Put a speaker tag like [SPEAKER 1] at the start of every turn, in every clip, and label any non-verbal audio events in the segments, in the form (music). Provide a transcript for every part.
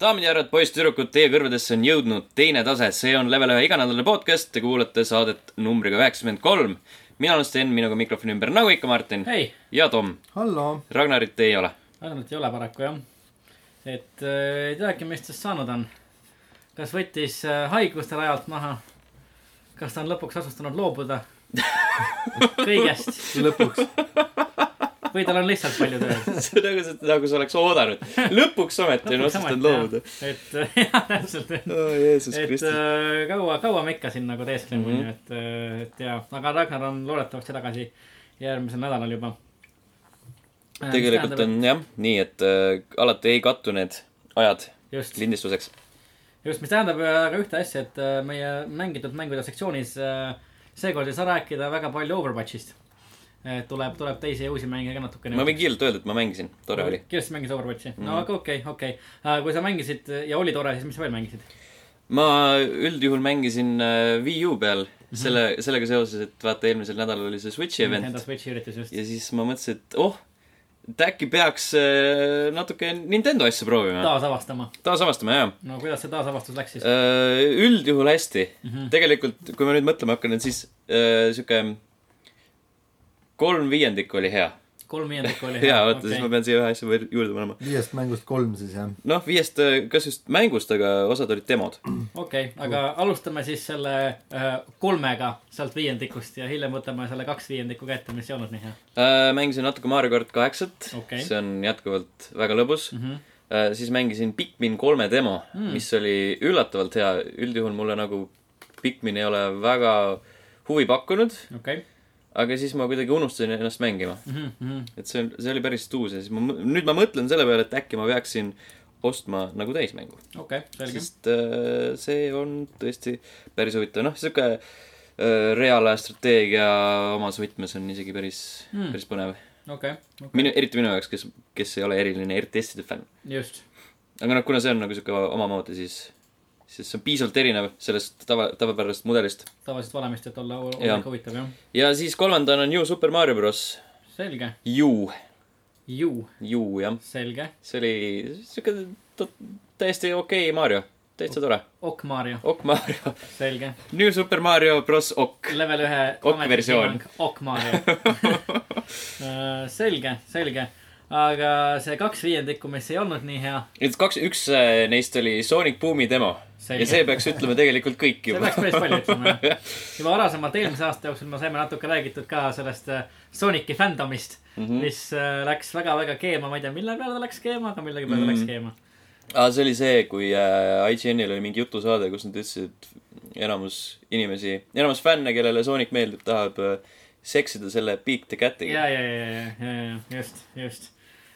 [SPEAKER 1] daamid ja härrad , poisssüdrukud , teie kõrvadesse on jõudnud teine tase , see on level ühe iganädalane podcast , te kuulate saadet numbriga üheksakümmend kolm . mina olen Sten , minuga mikrofoni ümber , nagu ikka , Martin
[SPEAKER 2] ei ,
[SPEAKER 1] ja Tom .
[SPEAKER 3] halloo ,
[SPEAKER 1] Ragnarit ei ole .
[SPEAKER 2] Ragnarit ei ole paraku jah . et äh, ei teagi , mis tast saanud on . kas võttis äh, haiguste rajalt maha ? kas ta on lõpuks asustanud
[SPEAKER 1] (laughs)
[SPEAKER 2] loobuda kõigest
[SPEAKER 3] lõpuks
[SPEAKER 2] või tal on lihtsalt palju tööd ?
[SPEAKER 1] see on nagu , nagu sa oleks oodanud . lõpuks ometi on otsustanud loobuda ..
[SPEAKER 2] et äh, (laughs) jah , täpselt .
[SPEAKER 1] oh, . Jeesus
[SPEAKER 2] et
[SPEAKER 1] Kristus .
[SPEAKER 2] äh, kaua , kaua me ikka siin nagu teeskleme mm ,
[SPEAKER 1] Mhm.
[SPEAKER 2] -hmm. et äh, , et ja , aga Ragnar on loodetavasti tagasi järgmisel nädalal juba . Äh,
[SPEAKER 1] tegelikult on . jah , nii , et äh, alati ei kattu need ajad
[SPEAKER 2] just ,
[SPEAKER 1] lindistuseks .
[SPEAKER 2] just , mis tähendab äh, aga ühte asja , et äh, meie mängitud mängude sektsioonis äh, seekord ei saa rääkida väga palju Overwatchist . tuleb , tuleb teisi ja uusi mänge ka natukene .
[SPEAKER 1] ma võin kiirelt öelda , et ma mängisin , tore oli .
[SPEAKER 2] kindlasti mängisid Overwatchi ,
[SPEAKER 1] Mhm.
[SPEAKER 2] no aga okei , okei . kui sa mängisid ja oli tore , siis mis sa veel mängisid ?
[SPEAKER 1] ma üldjuhul mängisin äh, Wii U peal selle , sellega seoses , et vaata , eelmisel nädalal oli see Switchi event
[SPEAKER 2] Nintendo Switchi üritus just .
[SPEAKER 1] ja siis ma mõtlesin , et oh , et äkki peaks äh, natuke Nintendo asju proovima .
[SPEAKER 2] taasavastama .
[SPEAKER 1] taasavastama , jah .
[SPEAKER 2] no kuidas see taasavastus läks siis ?
[SPEAKER 1] üldjuhul hästi . tegelikult , kui ma nüüd mõtlema hakkan , et siis äh, sihuke kolm viiendikku oli hea .
[SPEAKER 2] kolm viiendikku oli
[SPEAKER 1] hea , oota , siis ma pean siia ühe asja veel juurde panema .
[SPEAKER 3] viiest mängust kolm siis jah .
[SPEAKER 1] noh , viiest , kas just mängust , aga osad olid demod .
[SPEAKER 2] okei okay, , aga alustame siis selle äh, kolmega sealt viiendikust ja hiljem võtame selle kaks viiendikku kätte , mis ei olnud nii hea
[SPEAKER 1] Äh, mängisin natuke Mario kart kaheksat
[SPEAKER 2] Okei.
[SPEAKER 1] see on jätkuvalt väga lõbus .
[SPEAKER 2] mm . -hmm.
[SPEAKER 1] Äh, siis mängisin Pikmin kolme demo
[SPEAKER 2] Mm.
[SPEAKER 1] mm. , mis oli üllatavalt hea , üldjuhul mulle nagu Pikmin ei ole väga huvi pakkunud ,
[SPEAKER 2] okei okay.
[SPEAKER 1] aga siis ma kuidagi unustasin ennast mängima .
[SPEAKER 2] mm . -hmm.
[SPEAKER 1] et see on , see oli päris tuus ja siis ma , nüüd ma mõtlen selle peale , et äkki ma peaksin ostma nagu täismängu ,
[SPEAKER 2] okei okay, , selge .
[SPEAKER 1] sest äh, see on tõesti päris huvitav , noh , sihuke äh, reaalaja strateegia omas võtmes on isegi päris
[SPEAKER 2] Mm.
[SPEAKER 1] mm. , päris põnev .
[SPEAKER 2] okei ,
[SPEAKER 1] minu , eriti minu jaoks , kes , kes ei ole eriline RTS-ide fänn .
[SPEAKER 2] just ,
[SPEAKER 1] aga noh , kuna see on nagu sihuke omamoodi , siis , siis see on piisavalt erinev sellest tava , tavapärasest mudelist .
[SPEAKER 2] tavaliselt valemist , et olla hu-
[SPEAKER 1] Jah.
[SPEAKER 2] huvitav jah .
[SPEAKER 1] ja siis kolmandana on New Super Mario Bros .
[SPEAKER 2] selge ,
[SPEAKER 1] U ,
[SPEAKER 2] ju ,
[SPEAKER 1] U jah ,
[SPEAKER 2] selge ,
[SPEAKER 1] see oli sihuke ta- täiesti okei okay Mario , täitsa tore .
[SPEAKER 2] ok Mario ,
[SPEAKER 1] Ok Mario , (laughs)
[SPEAKER 2] selge .
[SPEAKER 1] New Super Mario Bros Ok .
[SPEAKER 2] level ühe .
[SPEAKER 1] Ok versioon. . (laughs)
[SPEAKER 2] ok Mario . selge , selge , aga see kaks viiendikku , mis ei olnud nii hea ,
[SPEAKER 1] nüüd kaks , üks äh, neist oli Sonic Boomi demo
[SPEAKER 2] Selge.
[SPEAKER 1] ja see peaks ütlema tegelikult kõik
[SPEAKER 2] see
[SPEAKER 1] juba
[SPEAKER 2] peaks . päris palju ütlema
[SPEAKER 1] (laughs)
[SPEAKER 2] jah . juba varasemalt eelmise aasta jooksul me saime natuke räägitud ka sellest äh, Sonic'i fandomist mm ,
[SPEAKER 1] Mhm.
[SPEAKER 2] -hmm. mis äh, läks väga-väga keema , ma ei tea , mille peale ta läks keema , aga millegi peale ta
[SPEAKER 1] Mhm.
[SPEAKER 2] läks keema .
[SPEAKER 1] aa , see oli see , kui äh, IGN-il oli mingi jutusaade , kus nad ütlesid , et enamus inimesi , enamus fänne , kellele Sonic meeldib , tahab äh, seksida selle Big the
[SPEAKER 2] ja ,
[SPEAKER 1] Catiga .
[SPEAKER 2] ja , ja , ja , ja , ja , just , just .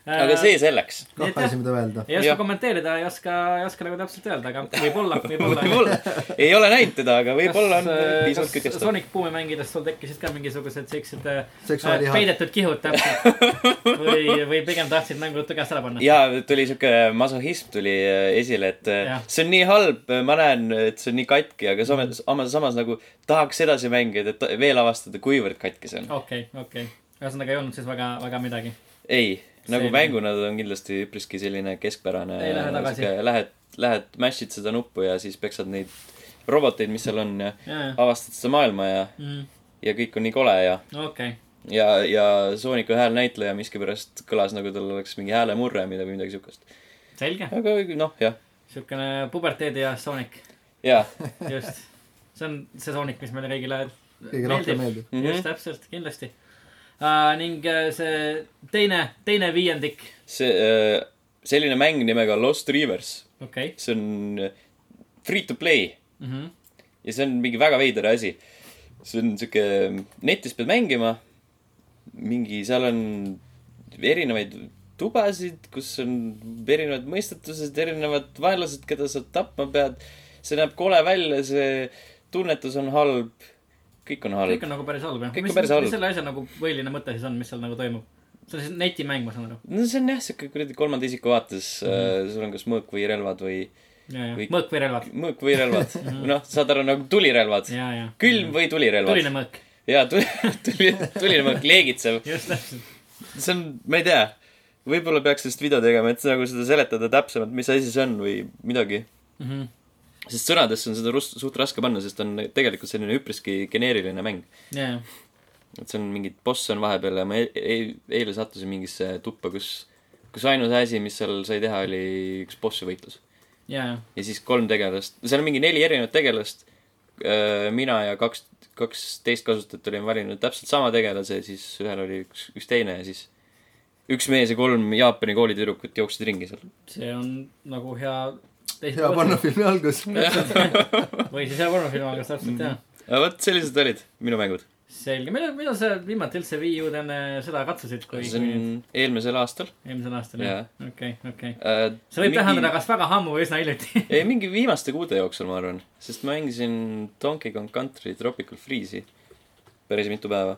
[SPEAKER 1] aga see selleks .
[SPEAKER 2] Nii et
[SPEAKER 3] kah
[SPEAKER 2] jah.
[SPEAKER 3] asja , mida öelda .
[SPEAKER 2] ei oska
[SPEAKER 1] jah.
[SPEAKER 2] kommenteerida , ei oska , ei oska nagu täpselt öelda , aga võib-olla , (laughs) võib-olla .
[SPEAKER 1] (laughs) võib-olla , ei ole näinud teda , aga võib-olla on äh, piisavalt
[SPEAKER 2] kas
[SPEAKER 1] kütkestav .
[SPEAKER 2] Sonic Boomi mängides sul tekkisid ka mingisugused siuksed äh,
[SPEAKER 3] Seksuaalihad.
[SPEAKER 2] peidetud kihud
[SPEAKER 1] (laughs)
[SPEAKER 2] täpselt või , või pigem tahtsid mängud käest ära panna ?
[SPEAKER 1] ja tuli siuke masohhism tuli äh, esile , et äh,
[SPEAKER 2] Jah.
[SPEAKER 1] see on nii halb , ma näen , et see on nii katki , aga
[SPEAKER 2] Mm.
[SPEAKER 1] samas , samas nagu tahaks edasi mängida , et ta- veel avastada , kuivõrd katki see on .
[SPEAKER 2] okei , okei , ühesõnaga ei olnud siis väga , väga midagi .
[SPEAKER 1] ei , nagu
[SPEAKER 2] Selge.
[SPEAKER 1] mänguna ta on kindlasti üpriski selline keskpärane .
[SPEAKER 2] Ei lähe tagasi.
[SPEAKER 1] Lähed , lähed , mash'id seda nuppu ja siis peksad neid roboteid , mis seal on ja
[SPEAKER 2] jajah ,
[SPEAKER 1] avastad seda maailma ja , ja kõik on nii kole ja ,
[SPEAKER 2] Mm, okei ,
[SPEAKER 1] ja , ja Sooniku häälnäitleja miskipärast kõlas nagu tal oleks mingi häälemurre või midagi , midagi siukest .
[SPEAKER 2] selge ,
[SPEAKER 1] aga noh , jah ,
[SPEAKER 2] siukene puberteedi ja Sonic ,
[SPEAKER 1] ja ,
[SPEAKER 2] just . see on see Sonic , mis meile kõigile
[SPEAKER 3] kõige rohkem meeldib .
[SPEAKER 1] Mhm.
[SPEAKER 2] just täpselt , kindlasti uh, . ning äh, see teine , teine viiendik ,
[SPEAKER 1] see äh, , selline mäng nimega Lost Rivers ,
[SPEAKER 2] okei
[SPEAKER 1] see on äh, free to play
[SPEAKER 2] mm
[SPEAKER 1] Mhm.
[SPEAKER 2] -hmm. ,
[SPEAKER 1] ja see on mingi väga veider asi . see on sihuke , netis pead mängima , mingi , seal on erinevaid tubasid , kus on erinevad mõistatused , erinevad vaenlased , keda sa tapma pead . see näeb kole välja , see tunnetus on halb , kõik on halb
[SPEAKER 2] kõik on nagu päris halb jah .
[SPEAKER 1] Kõik on
[SPEAKER 2] mis,
[SPEAKER 1] päris halb.
[SPEAKER 2] mis selle asja nagu põhiline mõte siis on , mis seal nagu toimub ? see on siis netimäng , ma saan aru .
[SPEAKER 1] no see on jah , sihuke kuradi kolmanda isiku vaates mm ,
[SPEAKER 2] Mhm.
[SPEAKER 1] -hmm. sul on kas mõõk või relvad või , Kõik-
[SPEAKER 2] mõõk või relvad ?
[SPEAKER 1] mõõk või
[SPEAKER 2] (laughs)
[SPEAKER 1] relvad ,
[SPEAKER 2] Mhm.
[SPEAKER 1] noh , saad aru nagu tulirelvad ,
[SPEAKER 2] ja , ja .
[SPEAKER 1] külm või tulirelvad .
[SPEAKER 2] tuline mõõk ,
[SPEAKER 1] (laughs) jaa , tuli , tuli , tuline mõõk , leegitsev ,
[SPEAKER 2] just täpselt .
[SPEAKER 1] see on , ma ei tea , võib-olla peaks sellest video tegema , et nagu seda seletada täpsemalt , mis asi see on või midagi .
[SPEAKER 2] mm . -hmm.
[SPEAKER 1] sest sõnadesse on seda rus- , suht raske panna , sest on tegelikult selline üpriski geneeriline mäng .
[SPEAKER 2] Yeah.
[SPEAKER 1] et see on mingi , boss on vahepeal ja ma e- e- eile sattusin mingisse tuppa , kus , kus ainus asi , mis seal sai teha , oli üks bossi võitlus .
[SPEAKER 2] ja ,
[SPEAKER 1] ja siis kolm tegelast , seal on mingi neli erinevat tegelast . mina ja kaks , kaks teist kasutajat olime valinud täpselt sama tegelase , siis ühel oli üks , üks teine ja siis üks mees ja kolm Jaapani koolitüdrukut jooksid ringi seal .
[SPEAKER 2] see on nagu hea teise
[SPEAKER 3] hea panna filmi
[SPEAKER 2] (laughs)
[SPEAKER 3] algus .
[SPEAKER 2] või siis hea pornofilm , aga
[SPEAKER 1] Mhm.
[SPEAKER 2] täpselt jah .
[SPEAKER 1] aga Äh, vot sellised olid minu mängud .
[SPEAKER 2] selge , millal , millal sa viimati üldse Wii U-d enne seda katsusid , kui
[SPEAKER 1] see on
[SPEAKER 2] kui
[SPEAKER 1] eelmisel aastal .
[SPEAKER 2] eelmisel aastal
[SPEAKER 1] Jaa.
[SPEAKER 2] jah ? okei , okei . see
[SPEAKER 1] see
[SPEAKER 2] võib tähendada kas väga ammu või üsna hiljuti . (laughs)
[SPEAKER 1] ei , mingi viimaste kuude jooksul , ma arvan , sest ma mängisin Donkey Kong Country Tropical Freeze'i päris mitu päeva .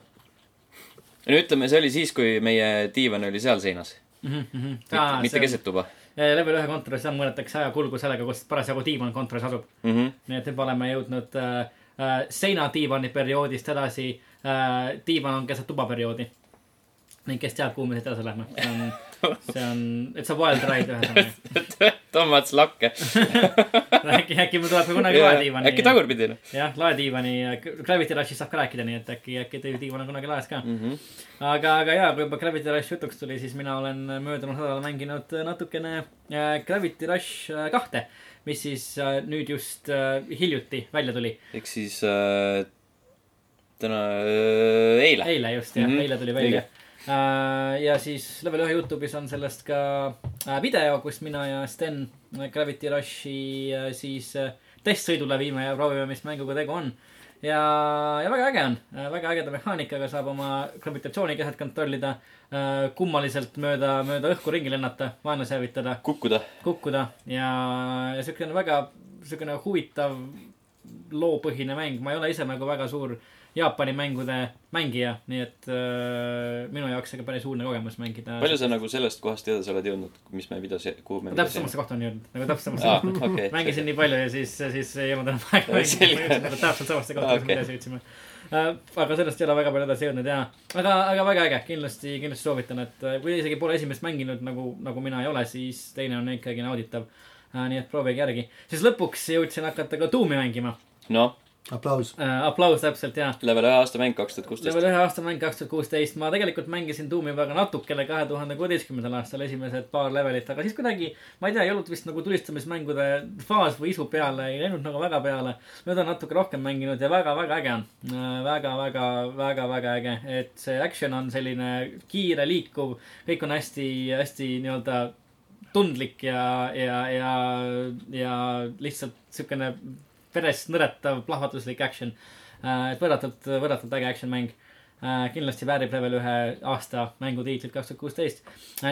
[SPEAKER 1] no ütleme , see oli siis , kui meie diivan oli seal seinas ,
[SPEAKER 2] Mhm,
[SPEAKER 1] mitte, ah, mitte . keset tuba
[SPEAKER 2] eh, level ühe kontoris jah , mõõdetakse ajakulgu sellega , kus parasjagu diivan kontoris asub .
[SPEAKER 1] mm . (laughs) -hmm.
[SPEAKER 2] nii et juba oleme jõudnud äh, äh, seinadiivani perioodist edasi äh, . diivan on keset tuba perioodi . ning kes teab , kuhu me siit edasi läheme . see on , see on , it's a wild ride ühesõnaga .
[SPEAKER 1] Tom vaatas lakke .
[SPEAKER 2] äkki , äkki mul tuleb ka kunagi laediivani .
[SPEAKER 1] äkki tagurpidi noh
[SPEAKER 2] jah , laediivani ja Gravity Rushist saab ka rääkida , nii et äkki , äkki teil diivan on kunagi laes ka .
[SPEAKER 1] mm -hmm. .
[SPEAKER 2] aga , aga jaa , kui juba Gravity Rush jutuks tuli , siis mina olen möödunud nädalal mänginud natukene äh, Gravity Rush äh, kahte , mis siis äh, nüüd just äh, hiljuti välja tuli .
[SPEAKER 1] ehk siis äh, täna äh, , eile .
[SPEAKER 2] eile just jah mm ,
[SPEAKER 1] Mhm.
[SPEAKER 2] -hmm. eile tuli välja . ja siis level ühe Youtube'is on sellest ka äh, video , kus mina ja Sten Gravity Rushi äh, siis äh, testsõidule viime ja proovime , mis mänguga tegu on . ja , ja väga äge on , väga ägeda mehaanikaga saab oma gravitatsioonikehet kontrollida , kummaliselt mööda , mööda õhku ringi lennata , vaenlase hävitada ,
[SPEAKER 1] kukkuda .
[SPEAKER 2] kukkuda ja , ja siukene väga , siukene huvitav loopõhine mäng , ma ei ole ise nagu väga suur Jaapani mängude mängija , nii et äh, minu jaoks see ka päris uudne kogemus mängida .
[SPEAKER 1] palju sa nagu sellest kohast edasi oled jõudnud , mis me videos , kuhu me
[SPEAKER 2] täpselt samasse kohta on jõudnud , nagu täpselt samasse
[SPEAKER 1] aa
[SPEAKER 2] kohta . ,
[SPEAKER 1] okei .
[SPEAKER 2] mängisin nii palju ja siis , siis ei olnud enam aega
[SPEAKER 1] Selge.
[SPEAKER 2] mängida , täpselt samasse kohta , kus
[SPEAKER 1] Okei.
[SPEAKER 2] me edasi jõudsime . aga sellest ei ole väga palju edasi jõudnud ja , aga , aga väga äge , kindlasti , kindlasti soovitan , et äh, kui isegi pole esimest mänginud nagu , nagu mina ei ole , siis teine on ikkagi nauditav . nii et proovige järgi , siis lõpuks jõudsin hakata ka Doomi mängima .
[SPEAKER 1] noh ,
[SPEAKER 3] aplaus .
[SPEAKER 2] aplaus täpselt ja .
[SPEAKER 1] level ühe aasta mäng kaks tuhat kuusteist .
[SPEAKER 2] level ühe aasta mäng kaks tuhat kuusteist , ma tegelikult mängisin Doomi väga natukene kahe tuhande kuueteistkümnendal aastal esimesed paar levelit , aga siis kuidagi , ma ei tea , ei olnud vist nagu tulistamismängude faas või isu peale , ei läinud nagu väga peale . nüüd on natuke rohkem mänginud ja väga-väga äge on . Äh, väga-väga , väga-väga äge , et see action on selline kiire , liikuv , kõik on hästi , hästi nii-öelda tundlik ja , ja , ja , ja lihtsalt siukene verest nõretav plahvatuslik action . et võrratult , võrratult äge action mäng . kindlasti väärib level ühe aasta mängutiitlit kaks tuhat kuusteist .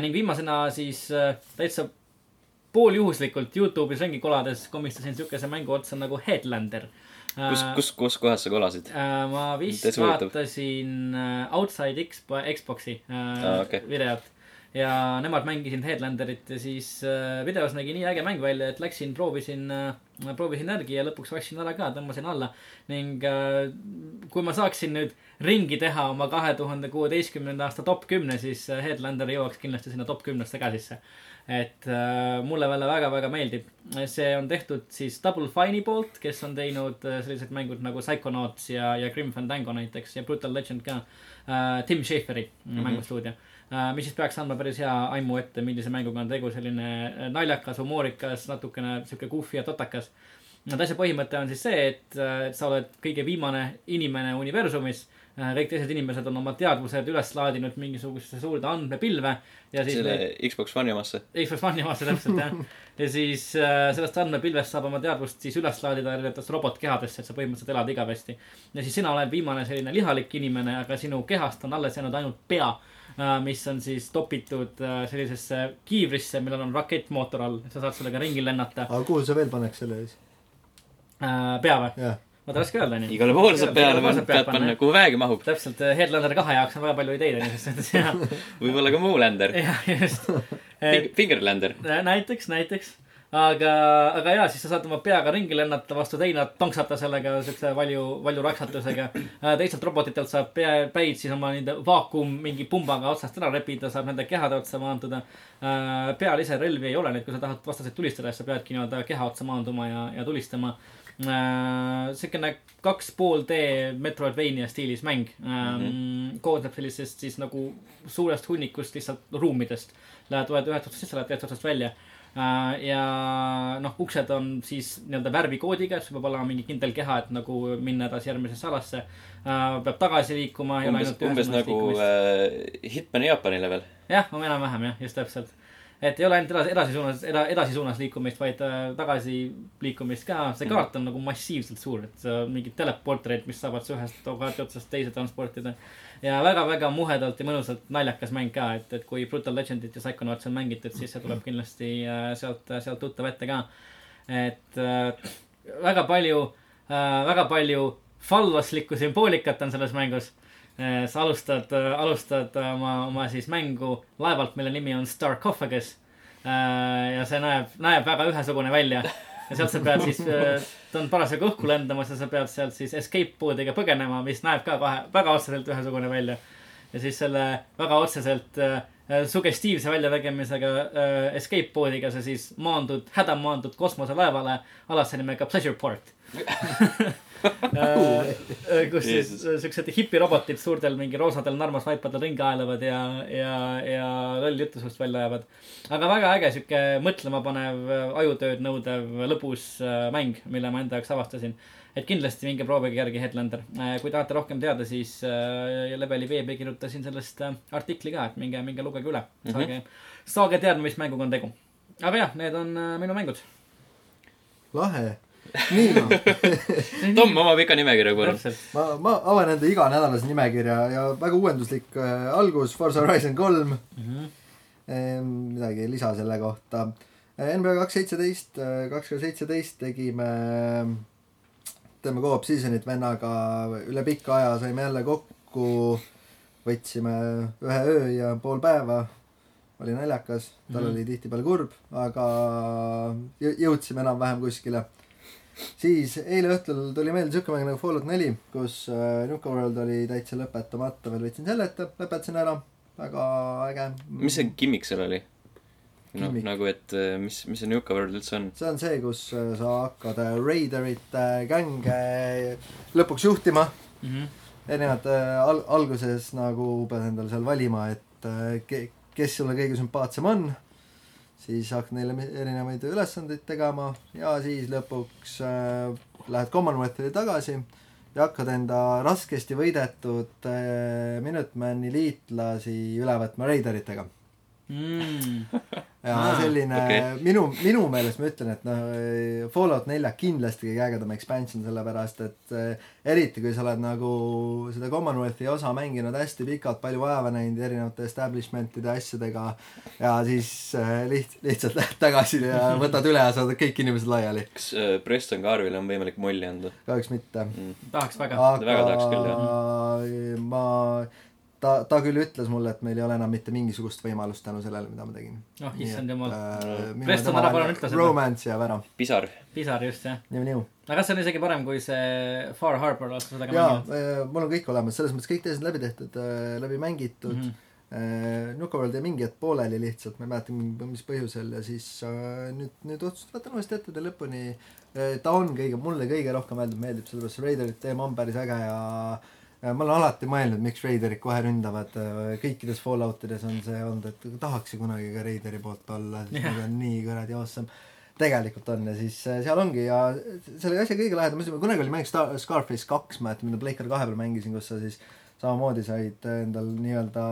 [SPEAKER 2] ning viimasena siis äh, täitsa pooljuhuslikult Youtube'is ringi kolades komistasin siukese mängu otsa nagu Headlander .
[SPEAKER 1] kus , kus , kus kohas sa kolasid ?
[SPEAKER 2] Äh, ma vist
[SPEAKER 1] Täitsa huvitav.
[SPEAKER 2] vaatasin äh, Outside Xbox , Xboxi äh,
[SPEAKER 1] Aa,
[SPEAKER 2] ah,
[SPEAKER 1] okei.
[SPEAKER 2] okay. videot ja nemad mängisid Headlanderit ja siis äh, videos nägi nii äge mäng välja , et läksin , proovisin äh, , proovisin järgi ja lõpuks ostsin ära ka , tõmbasin alla ning äh, kui ma saaksin nüüd ringi teha oma kahe tuhande kuueteistkümnenda aasta top kümne , siis äh, Headlander jõuaks kindlasti sinna top kümnesse ka sisse . et äh, mulle jälle väga-väga meeldib . see on tehtud siis Double Fine'i poolt , kes on teinud äh, sellised mängud nagu Psychonauts ja , ja Grim Fandango näiteks ja Brutal Legend ka äh, . Tim Schaferi mm -hmm. mängustuudio äh, , mis siis peaks andma päris hea aimu ette , millise mänguga on tegu , selline äh, naljakas , humoorikas , natukene sihuke goofy ja totakas no asja põhimõte on siis see , et äh, sa oled kõige viimane inimene universumis . kõik teised inimesed on oma teadvused üles laadinud mingisugusesse suurde andmepilve ja siis
[SPEAKER 1] selle
[SPEAKER 2] neid-
[SPEAKER 1] Xbox One'i omasse .
[SPEAKER 2] Xbox One'i omasse täpselt jah . ja siis äh, sellest andmepilvest saab oma teadvust siis üles laadida erinevatesse robotkehadesse , et sa põhimõtteliselt elad igavesti . ja siis sina oled viimane selline lihalik inimene , aga sinu kehast on alles jäänud ainult pea , mis on siis topitud äh, sellisesse kiivrisse , millel on rakettmootor all , sa saad sellega ringi lennata .
[SPEAKER 3] aga kuhu sa veel paneks selle siis ?
[SPEAKER 2] pea või ?
[SPEAKER 3] jah ,
[SPEAKER 2] ma tahaks ka öelda nii .
[SPEAKER 1] igale poole saab peale
[SPEAKER 2] Igale poole
[SPEAKER 1] panna ,
[SPEAKER 2] saab peale
[SPEAKER 1] pead
[SPEAKER 2] panna,
[SPEAKER 1] panna
[SPEAKER 2] jah. ,
[SPEAKER 1] kuhu väegi mahub .
[SPEAKER 2] täpselt , Headlander kahe jaoks on väga palju ideid , on ju , selles (laughs) suhtes , Eh,
[SPEAKER 1] võib-olla ka muu länder .
[SPEAKER 2] jah , just .
[SPEAKER 1] Fingerlander .
[SPEAKER 2] näiteks , näiteks , aga , aga ja siis sa saad oma peaga ringi lennata vastu teinat , tonksata sellega siukse valju , valju raksatusega . teistelt robotitelt saab pea , päid siis oma nii-öelda vaakum mingi pumbaga otsast ära rebida , saab nende kehade otsa maanduda . peal ise relvi ei ole , nii et kui sa tahad vastaseid tulistada , siis sa peadki nii-öelda keha otsa maanduma ja , ja tulistama . Äh, siukene kaks pool D Metroidvania stiilis mäng mm .
[SPEAKER 1] Mhm.
[SPEAKER 2] -hmm. koosneb sellisest siis nagu suurest hunnikust lihtsalt ruumidest . Lähed , oled ühest otsast sisse , lähed teisest otsast välja Äh, ja noh , uksed on siis nii-öelda värvikoodiga , et sul peab olema mingi kindel keha , et nagu minna edasi järgmisesse alasse . peab tagasi liikuma .
[SPEAKER 1] umbes , umbes nagu äh, Hitman Jaapanile veel .
[SPEAKER 2] jah , on enam-vähem jah , just täpselt . et ei ole ainult edasi , edasi suunas , edasi suunas liikumist , vaid äh, tagasi liikumist ka . see kaart on nagu massiivselt suur , et äh, mingid teleporterid , mis saavad su ühest kaarti otsast teise transportida . ja väga-väga muhedalt ja mõnusalt naljakas mäng ka , et , et kui Brutal Legendit ja Psychonauts on mängitud , siis see tuleb kindlasti äh, sealt , sealt tuttav ette ka . et äh, väga palju äh, , väga palju fallaslikku sümboolikat on selles mängus Äh, sa alustad , alustad oma , oma siis mängu laevalt , mille nimi on Starcophagus . ja see näeb , näeb väga ühesugune välja . ja sealt sa pead siis , ta on parasjagu õhku lendamas ja sa pead sealt siis escape pood'iga põgenema , mis näeb ka kahe , väga otseselt ühesugune välja . ja siis selle väga otseselt äh, sugestiivse väljanägemisega äh, escape pood'iga sa siis maandud , hädamaandud kosmoselaevale alasse nimega Pleasure Port Äh, kus siis
[SPEAKER 1] Jeesus.
[SPEAKER 2] äh, siuksed hipirobotid suurtel mingi roosadel narmasvaipadel ringi aelevad ja , ja , ja lolli juttu suust välja ajavad . aga väga äge sihuke mõtlemapanev , äh, ajutööd nõudev , lõbus äh, mäng , mille ma enda jaoks avastasin . et kindlasti minge proovige järgi Headlander . kui tahate rohkem teada , siis äh, Leveli veebi kirjutasin sellest äh, artikli ka , et minge , minge lugege üle . saage , saage teadma , mis mänguga on tegu . aga jah , need on äh, minu mängud .
[SPEAKER 3] lahe . Niina , Mhm.
[SPEAKER 1] Tom , oma pika nimekirja korra .
[SPEAKER 2] täpselt .
[SPEAKER 3] ma , ma avan enda iganädalase nimekirja ja väga uuenduslik äh, algus , Forza Horizon kolm
[SPEAKER 2] Mhm.
[SPEAKER 3] ehm, . midagi ei lisa selle kohta . Ehm, NBA kaks seitseteist , kaks ka seitseteist tegime , teeme co-op season'it vennaga üle pika aja , saime jälle kokku . võtsime ühe öö ja pool päeva . oli naljakas , tal mm
[SPEAKER 2] Mhm.
[SPEAKER 3] -hmm. oli tihtipeale kurb , aga jõ- jõudsime enam-vähem kuskile . siis eile õhtul tuli meelde siuke mäng nagu Fallout neli , kus äh, Nuka World oli täitsa lõpetamata , veel võtsin selle ette , lõpetasin ära , väga äge .
[SPEAKER 1] mis see gimmick seal oli ? noh ,
[SPEAKER 3] Gimmick?
[SPEAKER 1] nagu , et äh, mis , mis see Nuka World üldse on ?
[SPEAKER 3] see on see , kus äh, sa hakkad äh, reiderite gänge lõpuks juhtima .
[SPEAKER 2] Mhm.
[SPEAKER 3] erinevad äh, al- , alguses nagu pead endale seal valima , et äh, ke- , kes sulle kõige sümpaatsem on . siis hakkad neile mi- erinevaid ülesandeid tegema ja siis lõpuks äh, lähed Commonwealthile tagasi ja hakkad enda raskesti võidetud äh, Minutemani liitlasi üle võtma reideritega .
[SPEAKER 2] Mhm.
[SPEAKER 3] ja
[SPEAKER 2] Aa,
[SPEAKER 3] ah, selline
[SPEAKER 1] okei.
[SPEAKER 3] okay. minu , minu meelest ma ütlen , et noh , Fallout nelja kindlasti kõige ägedam expansion , sellepärast et eh, eriti kui sa oled nagu seda Commonwealthi osa mänginud hästi pikalt , palju vaeva näinud erinevate establishment'ide asjadega ja siis eh, liht- , lihtsalt lähed tagasi ja võtad üle ja saadad kõik inimesed laiali .
[SPEAKER 1] kas äh, Preston Garvile on võimalik molli anda ?
[SPEAKER 3] kahjuks mitte .
[SPEAKER 2] tahaks
[SPEAKER 3] (laughs)
[SPEAKER 2] väga .
[SPEAKER 1] Väga tahaks küll,
[SPEAKER 3] aga ma , ta , ta küll ütles mulle , et meil ei ole enam mitte mingisugust võimalust tänu sellele , mida ma tegin . äh,
[SPEAKER 2] oh issand jumal , Preston ära palun ütle seda.
[SPEAKER 3] Romance jääb ära ,
[SPEAKER 1] pisar .
[SPEAKER 2] pisar just jah .
[SPEAKER 3] nii-nii
[SPEAKER 2] aga see on isegi parem kui see Far Harbor , olete seda ka
[SPEAKER 3] jaa äh,
[SPEAKER 2] mänginud ?,
[SPEAKER 3] mul on kõik olemas , selles mõttes kõik teised läbi tehtud , läbi mängitud mm .
[SPEAKER 2] Mhm.
[SPEAKER 3] -hmm. Nukaworld jäi mingi hetk pooleli lihtsalt , ma ei mäleta , mis põhjusel ja siis äh, nüüd , nüüd otsustasin , võtan uuesti ette ta lõpuni . ta on kõige , mulle kõige rohkem meeldib , meeldib sellepärast , Raiderit teema on päris äge ja äh, ma olen alati mõelnud , miks Raiderid kohe ründavad . kõikides Fallout ides on see olnud , et tahaks ju kunagi ka Raideri poolt olla , sest nad on nii kuradi awesome tegelikult on ja siis äh, seal ongi ja selle asja kõige lahedam asi , kunagi oli mäng Star , Scarface kaks , ma mäletan , mida Playcar kahe peal mängisin , kus sa siis samamoodi said endal nii-öelda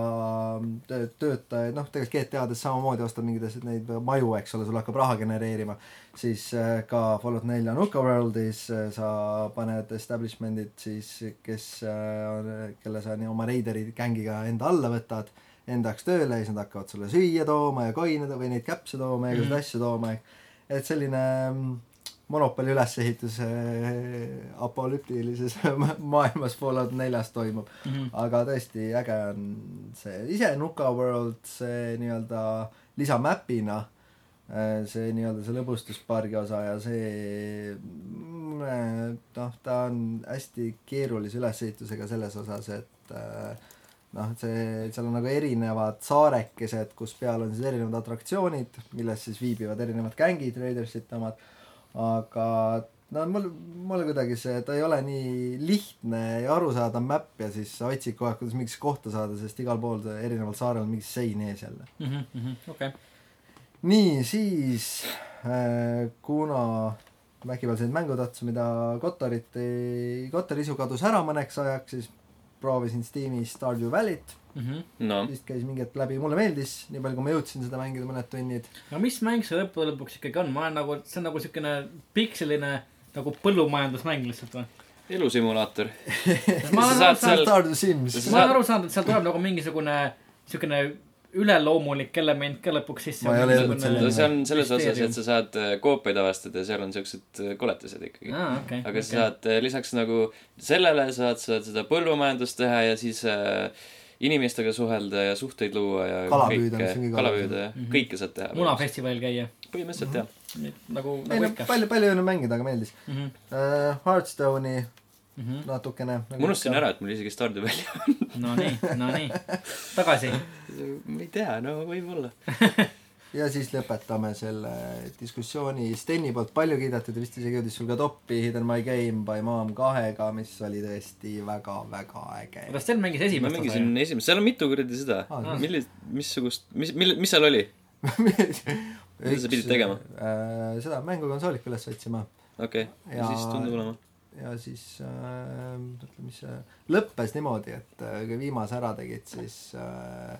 [SPEAKER 3] töö- töötajaid , noh , tegelikult GTA-des samamoodi ostad mingeid asju , neid maju , eks ole , sul hakkab raha genereerima . siis äh, ka Fallout nelja Nuka Worldis äh, sa paned establishment'id siis , kes , kelle sa nii oma reideri gängiga enda alla võtad enda jaoks tööle ja siis nad hakkavad sulle süüa tooma ja koine to- või neid käpse tooma ja igasuguseid asju tooma . et selline mm, monopoli ülesehitus äh, apokalüptilises (laughs) ma- maailmas Fallout neljas toimub . aga tõesti äge on see ise Nuka World see nii-öelda lisamäpina eh, see nii-öelda see lõbustuspargi osa ja see mm, noh , ta on hästi keerulise ülesehitusega selles osas , et äh, noh , see , seal on nagu erinevad saarekesed , kus peal on siis erinevad atraktsioonid , milles siis viibivad erinevad gängid , Raidersite omad , aga no mul , mulle kuidagi see , ta ei ole nii lihtne ja arusaadav mäpp ja siis sa otsid kogu aeg , kuidas mingisse kohta saada , sest igal pool see- erineval saarel on mingi sein ees jälle .
[SPEAKER 2] Mhm, okei .
[SPEAKER 3] nii , siis äh, kuna ma äkki veel sain mängutatsu , mida Kotarit ei , Kotari isu kadus ära mõneks ajaks , siis proovisin Steamis Stardew Valley't ,
[SPEAKER 2] Mhm.
[SPEAKER 1] no ,
[SPEAKER 3] vist käis mingi hetk läbi , mulle meeldis , nii palju kui ma jõudsin seda mängida mõned tunnid .
[SPEAKER 2] aga mis mäng see lõppude lõpuks ikkagi on , ma olen nagu , see on nagu siukene pikseline nagu põllumajandusmäng lihtsalt
[SPEAKER 3] (laughs)
[SPEAKER 2] või ?
[SPEAKER 1] elusimulaator .
[SPEAKER 2] ma
[SPEAKER 1] Sa
[SPEAKER 2] olen
[SPEAKER 1] saad seal-
[SPEAKER 2] aru saanud ,
[SPEAKER 3] Stardew Sims
[SPEAKER 1] sa
[SPEAKER 2] ma
[SPEAKER 1] saad-
[SPEAKER 2] olen aru saanud , et seal tuleb nagu mingisugune siukene üleloomulik element ka lõpuks sisse .
[SPEAKER 3] Ma ei ole jõudnud selleni.
[SPEAKER 1] see on selles osas , et sa saad äh, koopaid avastada ja seal on siuksed äh, koletised ikkagi .
[SPEAKER 3] Ah,
[SPEAKER 2] aa , okei .
[SPEAKER 1] aga sa saad äh, lisaks nagu sellele saad sa seda põllumajandust teha ja siis äh, inimestega suhelda ja suhteid luua ja
[SPEAKER 3] Kala püüda, mis on kõige
[SPEAKER 1] kala
[SPEAKER 3] olulisem. Mhm.
[SPEAKER 1] püüda ja
[SPEAKER 2] Mhm.
[SPEAKER 1] kõike saad teha .
[SPEAKER 2] munafestivalil käia ,
[SPEAKER 1] põhimõtteliselt jah .
[SPEAKER 2] nagu ,
[SPEAKER 3] ei
[SPEAKER 2] nagu
[SPEAKER 3] no
[SPEAKER 2] ikka . Mhm,
[SPEAKER 3] palju , palju ei olnud mängida , aga meeldis äh, . Hearthstone'i natukene .
[SPEAKER 1] ma unustasin . ära , et mul isegi Stardew Valley
[SPEAKER 2] no nii , no nii , tagasi .
[SPEAKER 1] on . ma ei tea , no võib-olla .
[SPEAKER 3] ja siis lõpetame selle diskussiooni Steni poolt palju kiidetud ja vist isegi jõudis sul ka toppi Hidden My Game by Mom kahega , mis oli tõesti väga-väga äge .
[SPEAKER 2] aga Sten mängis
[SPEAKER 1] ma
[SPEAKER 2] esimest osa
[SPEAKER 1] mängisin
[SPEAKER 2] ju .
[SPEAKER 1] esimest , seal on mitu kuradi seda
[SPEAKER 3] Aa, jah. .
[SPEAKER 1] millist , missugust , mis , mille , mis seal oli ? Mida sa pidid tegema? ?
[SPEAKER 3] Äh, seda mängukonsooliku üles otsima
[SPEAKER 1] okei ,
[SPEAKER 3] Jaa.
[SPEAKER 1] siis tundub olema .
[SPEAKER 3] ja siis äh, , mis see lõppes niimoodi , et äh, kui viimase ära tegid , siis äh,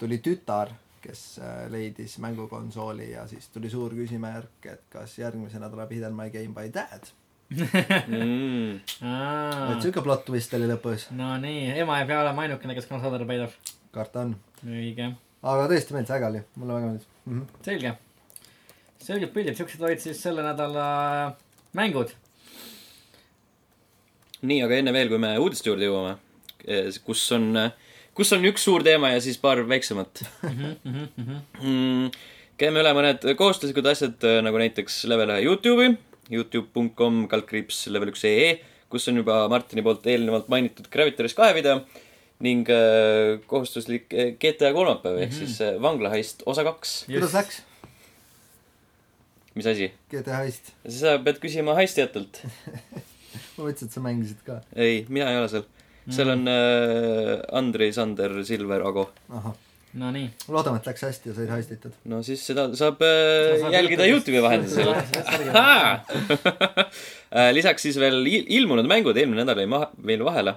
[SPEAKER 3] tuli tütar , kes äh, leidis mängukonsooli ja siis tuli suur küsimärk , et kas järgmisena tuleb Hidden My Game by Dad .
[SPEAKER 1] Mm.
[SPEAKER 3] et siuke plot twist oli lõpus ,
[SPEAKER 2] no nii , ema ei pea olema ainukene , kes konsoladele peidab .
[SPEAKER 3] karta on .
[SPEAKER 2] õige ,
[SPEAKER 3] aga tõesti meeldis , äge oli , mulle väga meeldis mm . -hmm.
[SPEAKER 2] selge . selged pildid , siuksed olid siis selle nädala mängud .
[SPEAKER 1] nii , aga enne veel , kui me uudiste juurde jõuame , kus on , kus on üks suur teema ja siis paar väiksemat mm, . käime üle mõned kohustuslikud asjad , nagu näiteks level ühe Youtube'i , Youtube.com kaldkriips level üks ee , kus on juba Martini poolt eelnevalt mainitud Gravitaris kahe video ning äh, kohustuslik äh, GTA kolmapäev ehk siis äh, vanglaheist osa kaks .
[SPEAKER 3] kuidas läks ?
[SPEAKER 1] mis asi ?
[SPEAKER 3] GTA heist ,
[SPEAKER 1] sa pead küsima heistijatelt .
[SPEAKER 3] ma mõtlesin , et sa mängisid ka .
[SPEAKER 1] ei , mina ei ole seal . seal on äh, Andrei , Sander , Silver , Ago
[SPEAKER 3] ahah ,
[SPEAKER 2] no nii .
[SPEAKER 3] loodame , et läks hästi ja said heistitud .
[SPEAKER 1] no siis seda saab äh,
[SPEAKER 2] saad
[SPEAKER 1] jälgida
[SPEAKER 2] YouTube'ist.
[SPEAKER 1] Youtube'i
[SPEAKER 2] (laughs)
[SPEAKER 1] vahendusel
[SPEAKER 2] Särgi- .
[SPEAKER 1] (laughs) Äh, lisaks siis veel il- ilmunud mängud , eelmine nädal jäi maha , meil vahele .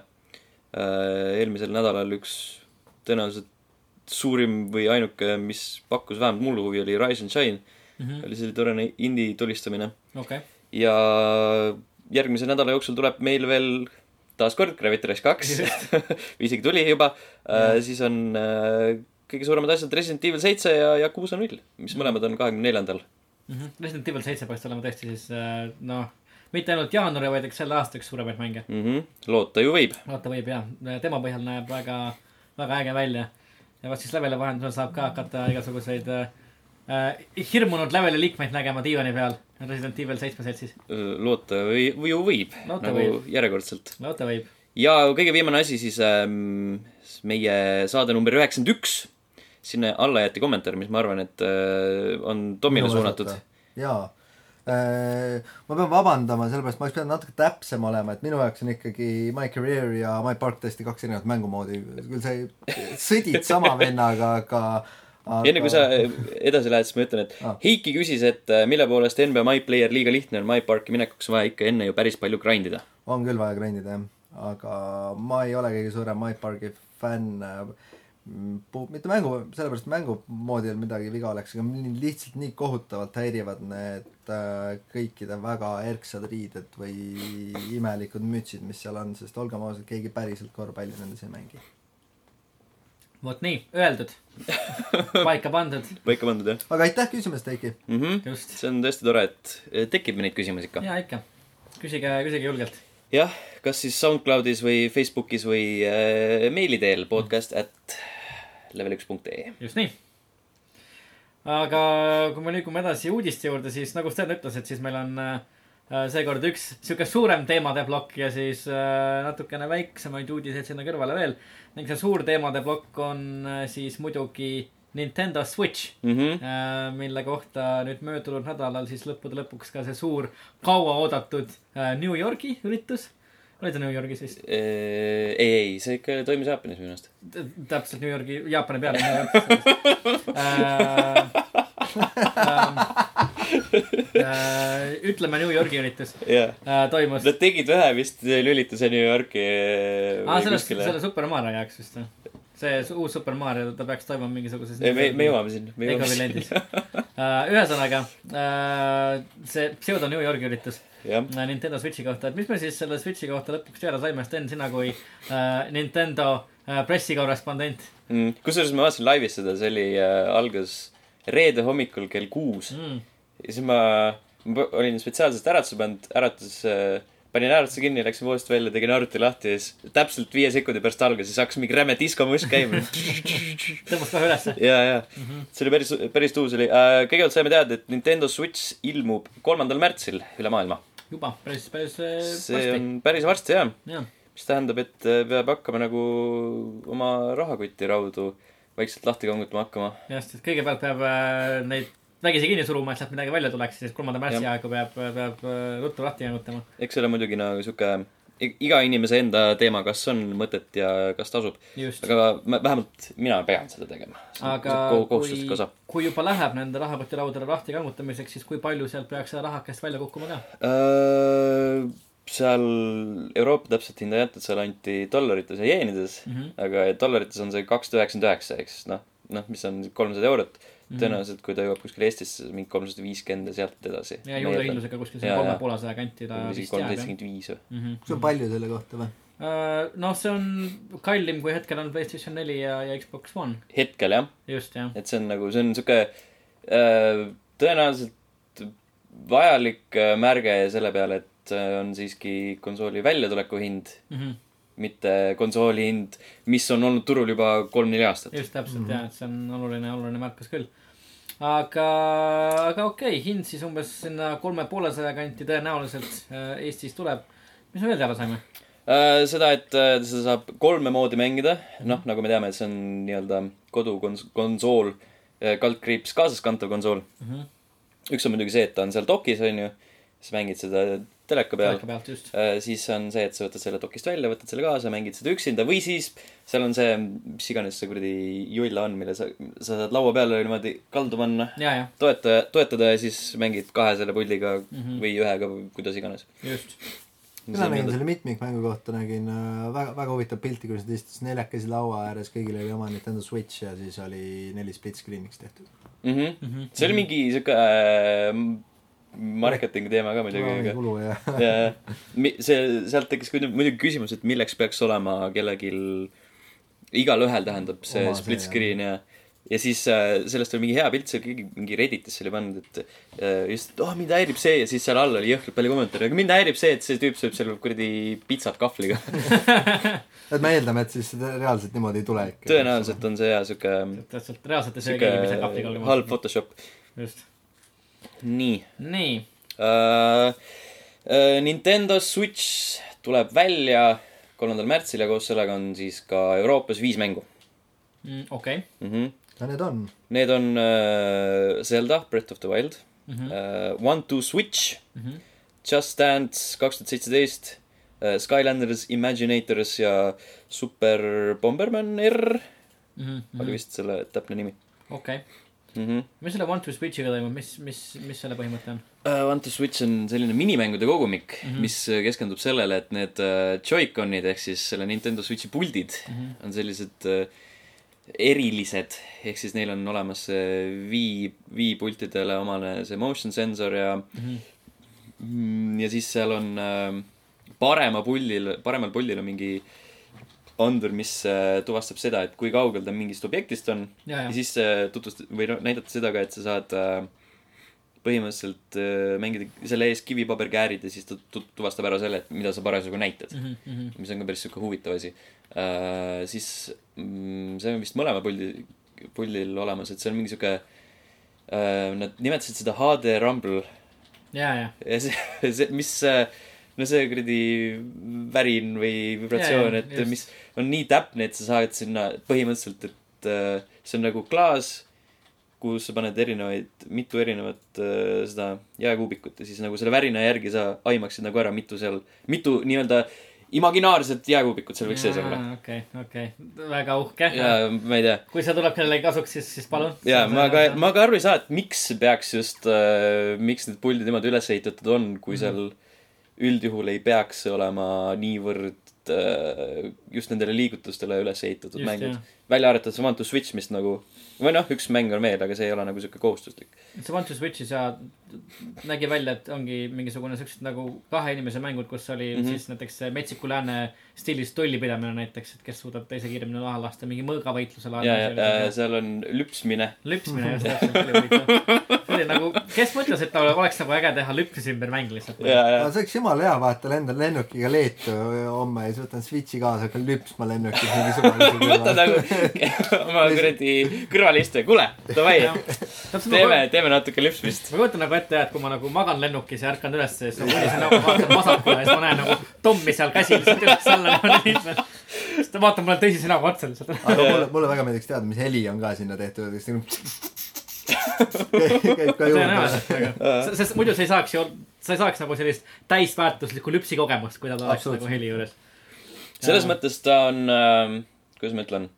[SPEAKER 1] eelmisel nädalal üks tõenäoliselt suurim või ainuke , mis pakkus vähemalt mulle huvi , oli Rise and Shine . oli selline tore indie tulistamine .
[SPEAKER 2] okei ,
[SPEAKER 1] ja järgmise nädala jooksul tuleb meil veel taaskord Gravity Rush kaks või isegi tuli juba , siis on äh, kõige suuremad asjad Resident Evil seitse ja Yakuusa null , mis mõlemad on kahekümne neljandal .
[SPEAKER 2] Mhm. Resident Evil seitse peaks olema tõesti siis äh, noh , mitte ainult jaanuari , vaid eks selle aasta üks suuremaid mänge .
[SPEAKER 1] Mhm. loota ju võib .
[SPEAKER 2] vaata võib jah , tema põhjal näeb väga , väga äge välja . ja vot siis leveli vahendusel saab ka hakata igasuguseid äh, äh, hirmunud leveli liikmeid nägema diivani peal Resident Evil seitsme seltsis .
[SPEAKER 1] Äh, loota või, või ju võib ,
[SPEAKER 2] Loota
[SPEAKER 1] nagu
[SPEAKER 2] võib.
[SPEAKER 1] järjekordselt .
[SPEAKER 2] vaata võib .
[SPEAKER 1] ja kõige viimane asi siis ähm, s- meie saade number üheksakümmend üks . sinna alla jäeti kommentaar , mis ma arvan , et äh, on Tomile suunatud .
[SPEAKER 3] jaa . ma pean vabandama , sellepärast ma oleks pidanud natuke täpsem olema , et minu jaoks on ikkagi My Career ja My Park täiesti kaks erinevat mängumoodi . küll sa sõdid sama vennaga , aga, aga... .
[SPEAKER 1] enne kui sa äh, edasi lähed , siis ma ütlen , et
[SPEAKER 3] Ah.
[SPEAKER 1] Heiki küsis , et äh, mille poolest NBA MyPlayer liiga lihtne on , MyParki minekuks on vaja ikka enne ju päris palju grind ida .
[SPEAKER 3] on küll vaja grindida jah , aga ma ei ole kõige suurem My Parki fänn . mitte mängu , sellepärast et mängu moodi ei olnud midagi viga oleks , aga mind lihtsalt nii kohutavalt häirivad need äh, kõikide väga erksad riided või imelikud mütsid , mis seal on , sest olgem ausad , keegi päriselt korvpalli nendes ei mängi .
[SPEAKER 2] vot nii , öeldud , paika pandud ,
[SPEAKER 1] paika pandud jah
[SPEAKER 3] aga aitäh küsimast , Heiki .
[SPEAKER 1] mm ? -hmm.
[SPEAKER 2] just .
[SPEAKER 1] see on tõesti tore , et äh, tekib neid küsimusi ikka .
[SPEAKER 2] ja ikka , küsige , küsige julgelt .
[SPEAKER 1] jah , kas siis SoundCloudis või Facebookis või äh, meili teel podcast at level üks punkt ee .
[SPEAKER 2] just nii . aga kui me liigume edasi uudiste juurde , siis nagu Sten ütles , et siis meil on äh, seekord üks sihuke suurem teemade plokk ja siis äh, natukene väiksemaid uudiseid sinna kõrvale veel . ning see suur teemade plokk on äh, siis muidugi Nintendo Switch ,
[SPEAKER 1] mhmh ,
[SPEAKER 2] mille kohta nüüd möödunud nädalal siis lõppude lõpuks ka see suur kauaoodatud äh, New Yorgi üritus , oli ta New Yorgis vist ?
[SPEAKER 1] Äh, ei , ei , see ikka toimis Jaapanis minu arust .
[SPEAKER 2] T- täpselt New Yorgi , Jaapani pealinn . Äh, äh, ütleme New Yorgi üritus
[SPEAKER 1] jaa .
[SPEAKER 2] äh, toimus .
[SPEAKER 1] Nad tegid ühe vist lülituse New Yorki äh,
[SPEAKER 2] aa , sellest , Ah, selle . Super Mario jaoks vist või ? see su- uus Super Mario , ta peaks toimuma mingisuguses .
[SPEAKER 1] ei , me , me jõuame sinna , me jõuame
[SPEAKER 2] Legolandis
[SPEAKER 1] sinna .
[SPEAKER 2] Äh, ühesõnaga , see pseudo New Yorgi üritus
[SPEAKER 1] jah ,
[SPEAKER 2] äh, Nintendo Switchi kohta , et mis me siis selle Switchi kohta lõpuks teada saime , Sten , sina kui äh, Nintendo äh, pressikorrespondent
[SPEAKER 1] Mm. kusjuures ma vaatasin laivis seda , see oli äh, , algas reede hommikul kell kuus
[SPEAKER 2] mm. .
[SPEAKER 1] ja siis ma, ma olin spetsiaalselt äratuse pannud , äratus äh, , panin äratuse kinni , läksin voodist välja , tegin arvuti lahti ja siis täpselt viie sekundi pärast alguses hakkas mingi räme diskomuss
[SPEAKER 2] (laughs)
[SPEAKER 1] käima .
[SPEAKER 2] tõmbas kohe ülesse .
[SPEAKER 1] ja , ja see oli päris , päris tuus oli äh, . kõigepealt saime teada , et Nintendo Switch ilmub kolmandal märtsil üle maailma .
[SPEAKER 2] juba päris , päris äh,
[SPEAKER 1] see
[SPEAKER 2] varsti .
[SPEAKER 1] on päris varsti jah ,
[SPEAKER 2] jah ,
[SPEAKER 1] mis tähendab , et äh, peab hakkama nagu oma rahakotti raudu vaikselt lahti kongutama hakkama .
[SPEAKER 2] just , et kõigepealt peab äh, neid vägisi kinni suruma , et sealt midagi välja tuleks , siis kolmanda märtsi
[SPEAKER 1] Jah.
[SPEAKER 2] aegu peab , peab äh, ruttu lahti jäänud
[SPEAKER 1] eks see ole muidugi nagu sihuke i- iga inimese enda teema , kas on mõtet ja kas tasub .
[SPEAKER 2] Just.
[SPEAKER 1] aga ma, vähemalt mina pean seda tegema .
[SPEAKER 2] aga kui
[SPEAKER 1] kohustuslik osa .,
[SPEAKER 2] kui juba läheb nende rahakotilaudade lahti kangutamiseks , siis kui palju sealt peaks seda rahakest välja kukkuma ka ?
[SPEAKER 1] Äh, seal Euroopa täpselt hinda ei antud , seal anti dollarites ja jeenides mm ,
[SPEAKER 2] Mhm.
[SPEAKER 1] -hmm. aga dollarites on see kakssada üheksakümmend üheksa , eks noh , noh , mis on kolmsada eurot .
[SPEAKER 2] Mhm.
[SPEAKER 1] tõenäoliselt , kui ta jõuab kuskile Eestisse , mingi kolmsada viiskümmend ja sealt edasi .
[SPEAKER 2] ja juurdehindlusega kuskil
[SPEAKER 1] Jaa,
[SPEAKER 2] selle kolme
[SPEAKER 1] jaa.
[SPEAKER 2] poole saja kanti ta
[SPEAKER 1] isegi
[SPEAKER 2] vist jääb
[SPEAKER 1] kolmsada
[SPEAKER 2] jah .
[SPEAKER 1] seitsekümmend viis või ?
[SPEAKER 3] kas on palju selle kohta või ?
[SPEAKER 2] noh , see on kallim , kui hetkel on Playstation neli ja , ja Xbox One ,
[SPEAKER 1] hetkel jah
[SPEAKER 2] just jah .
[SPEAKER 1] et see on nagu , see on sihuke äh, tõenäoliselt vajalik äh, märge selle peale , et äh, on siiski konsooli väljatuleku hind ,
[SPEAKER 2] Mhm.
[SPEAKER 1] mitte konsooli hind , mis on olnud turul juba kolm-neli aastat .
[SPEAKER 2] just täpselt mm -hmm. ja , et see on oluline , oluline märkus küll . aga , aga okei okay, , hind siis umbes sinna kolme poolesaja kanti tõenäoliselt äh, Eestis tuleb . mis me veel teada saime ?
[SPEAKER 1] seda , et äh, seda saab kolme moodi mängida , noh , nagu me teame , see on nii-öelda kodukonsool , äh, kaldkriips kaasaskantav konsool . üks on muidugi see , et ta on seal dokis , on ju , siis mängid seda teleka peal
[SPEAKER 2] teleka pealt just .
[SPEAKER 1] Äh, siis on see , et sa võtad selle dokist välja , võtad selle kaasa , mängid seda üksinda või siis seal on see , mis iganes see kuradi julla on , mille sa , sa saad laua peale niimoodi kaldu panna ,
[SPEAKER 2] ja , ja
[SPEAKER 1] toeta , toetada ja siis mängid kahe selle puldiga mm -hmm. või ühega , kuidas iganes .
[SPEAKER 2] just .
[SPEAKER 3] mina nägin selle mitmikmängu kohta , nägin äh, väga , väga huvitav pilti , kuidas ta istus neljakesi laua ääres , kõigil oli oma Nintendo Switch ja siis oli neli split screen'iks tehtud .
[SPEAKER 1] Mhm. see oli mingi sihuke äh, marketingi teema ka muidugi , aga (laughs)
[SPEAKER 3] kulu ja
[SPEAKER 1] ja , see , sealt tekkis kuidagi- muidugi küsimus , et milleks peaks olema kellelgi , igalühel tähendab see
[SPEAKER 3] Oma
[SPEAKER 1] Oma
[SPEAKER 3] see,
[SPEAKER 1] split
[SPEAKER 3] jah.
[SPEAKER 1] screen ja , ja siis äh, sellest oli mingi hea pilt , see oli keegi mingi Redditisse oli pannud , et äh, just , et oh , mind häirib see ja siis seal all oli jõhkralt palju kommentaare , aga mind häirib see , et see tüüp sööb seal kuradi pitsat kahvliga . (laughs)
[SPEAKER 3] et me eeldame , et siis seda reaalselt niimoodi ei tule ikka .
[SPEAKER 1] tõenäoliselt on see jaa , sihuke ,
[SPEAKER 2] täpselt , reaalselt ei söö
[SPEAKER 1] sihuke
[SPEAKER 2] keegi mitte kapli kallim .
[SPEAKER 1] halb . Photoshop .
[SPEAKER 2] just .
[SPEAKER 1] nii
[SPEAKER 2] nii ,
[SPEAKER 1] Äh, äh, Nintendo Switch tuleb välja kolmandal märtsil ja koos sellega on siis ka Euroopas viis mängu
[SPEAKER 2] okei .
[SPEAKER 1] mm . -hmm.
[SPEAKER 3] ja need on .
[SPEAKER 1] Need on äh, Zelda , Breath of the Wild mm , -hmm. äh, One to Switch mm ,
[SPEAKER 2] Mhm.
[SPEAKER 1] -hmm. Just Dance kaks tuhat seitseteist , Skylanders , Imaginators ja Super Bomberman R mm -hmm. oli vist selle täpne nimi
[SPEAKER 2] Mhm, okei ,
[SPEAKER 1] mm . -hmm.
[SPEAKER 2] mis selle One to Switch'iga toimub , mis , mis , mis selle põhimõte on ?
[SPEAKER 1] Uh, One to Switch on selline minimängude kogumik mm , -hmm. mis keskendub sellele , et need uh, Joy-Conid ehk siis selle Nintendo Switchi puldid mm
[SPEAKER 2] Mhm,
[SPEAKER 1] -hmm. on sellised uh, erilised , ehk siis neil on olemas see vii , viipultidele omane see motion sensor ja
[SPEAKER 2] mhm.
[SPEAKER 1] mm , -hmm. ja siis seal on uh, parema puldil , paremal puldil on mingi andur , mis uh, tuvastab seda , et kui kaugel ta mingist objektist on
[SPEAKER 2] ja ,
[SPEAKER 1] ja
[SPEAKER 2] ja ,
[SPEAKER 1] siis äh, tutvust- või noh , näidata seda ka , et sa saad äh, põhimõtteliselt äh, mängida selle ees kivipaberkäärid ja siis ta tu- tuvastab ära selle , et mida sa parasjagu näitad
[SPEAKER 2] Mhm,
[SPEAKER 1] mm . -hmm. mis on ka päris sihuke huvitav asi äh, . siis mm, see on vist mõlema puldi , puldil olemas , et see on mingi sihuke Nad nimetasid seda HD Rumble
[SPEAKER 2] ja , ja ,
[SPEAKER 1] ja see , (laughs) see , mis , no see kuradi värin või vibratsioon ,
[SPEAKER 2] Jaa, jaa,
[SPEAKER 1] et
[SPEAKER 2] just.
[SPEAKER 1] mis on nii täpne , et sa saad sinna põhimõtteliselt , et äh, see on nagu klaas , kuhu sa paned erinevaid , mitu erinevat äh, seda jääkuubikut ja siis nagu selle värina järgi sa aimaksid nagu ära , mitu seal , mitu nii-öelda imaginaarset jääkuubikut seal võiks sees olla .
[SPEAKER 2] okei , okei , väga uhke .
[SPEAKER 1] ja ma ei tea ,
[SPEAKER 2] kui see tuleb kellelegi kasuks , siis , siis palun .
[SPEAKER 1] ja ma ka , ma ka aru ei saa , et miks peaks just äh, , miks need puldid niimoodi üles ehitatud on , kui
[SPEAKER 2] Mhm.
[SPEAKER 1] mm -hmm. seal üldjuhul ei peaks olema niivõrd äh, just nendele liigutustele üles ehitatud just,
[SPEAKER 2] Just,
[SPEAKER 1] mängud
[SPEAKER 2] jah. .
[SPEAKER 1] välja arvatud Samantha Switch , mis nagu , või noh , üks mäng on veel , aga see ei ole nagu sihuke kohustuslik .
[SPEAKER 2] see One Two Switch'is ja nägi välja , et ongi mingisugune siuksed nagu kahe inimese mängud , kus oli mm
[SPEAKER 1] Mhm.
[SPEAKER 2] -hmm. siis näiteks see metsiku lääne stiilis tollipidamine näiteks , et kes suudab teise kiiremini laha lasta , mingi mõõgavõitluse
[SPEAKER 1] ja , ja äh,
[SPEAKER 2] laadne .
[SPEAKER 1] seal on lüpsmine .
[SPEAKER 2] nagu lüpsmine just täpselt . see oli nagu , kes mõtles , et tal oleks nagu äge teha lüpsis ümber mäng lihtsalt .
[SPEAKER 1] ja , ja
[SPEAKER 3] aga see oleks jumala hea , vaata , lendan lennukiga Leetu homme ja siis võtan Switchi kaasa , hakkan lüpsma lennukis
[SPEAKER 1] (laughs)
[SPEAKER 3] mingi
[SPEAKER 1] võta
[SPEAKER 3] suvalise .
[SPEAKER 1] nagu oma kuradi kõrvalistuja , kuule , davai ,
[SPEAKER 2] nagu.
[SPEAKER 1] teeme , teeme natuke lüpsmist .
[SPEAKER 2] ma kujutan nagu ette , et kui ma nagu magan lennukis ja ärkan üles , siis ma unisin nagu vaatan vasakule ja siis ma näen nagu Tommi seal käsi lihtsalt üles-alla niimoodi liikleb . nagu siis ta vaatab mulle tõsise näoga otsa lihtsalt .
[SPEAKER 3] aga mulle , mulle väga meeldiks teada , mis heli on ka sinna tehtud ,
[SPEAKER 1] (laughs)
[SPEAKER 3] kas siin käib käib ka juurde .
[SPEAKER 2] tõenäoliselt , aga nagu- s- sest muidu sa ei saaks ju , sa ei saaks nagu sellist täisväärtuslikku lüpsikogemust , kui ta oleks
[SPEAKER 3] Absoluutselt.
[SPEAKER 2] nagu heli juures .
[SPEAKER 1] selles
[SPEAKER 2] Jaa.
[SPEAKER 1] mõttes ta on äh, , kuidas ma ütlen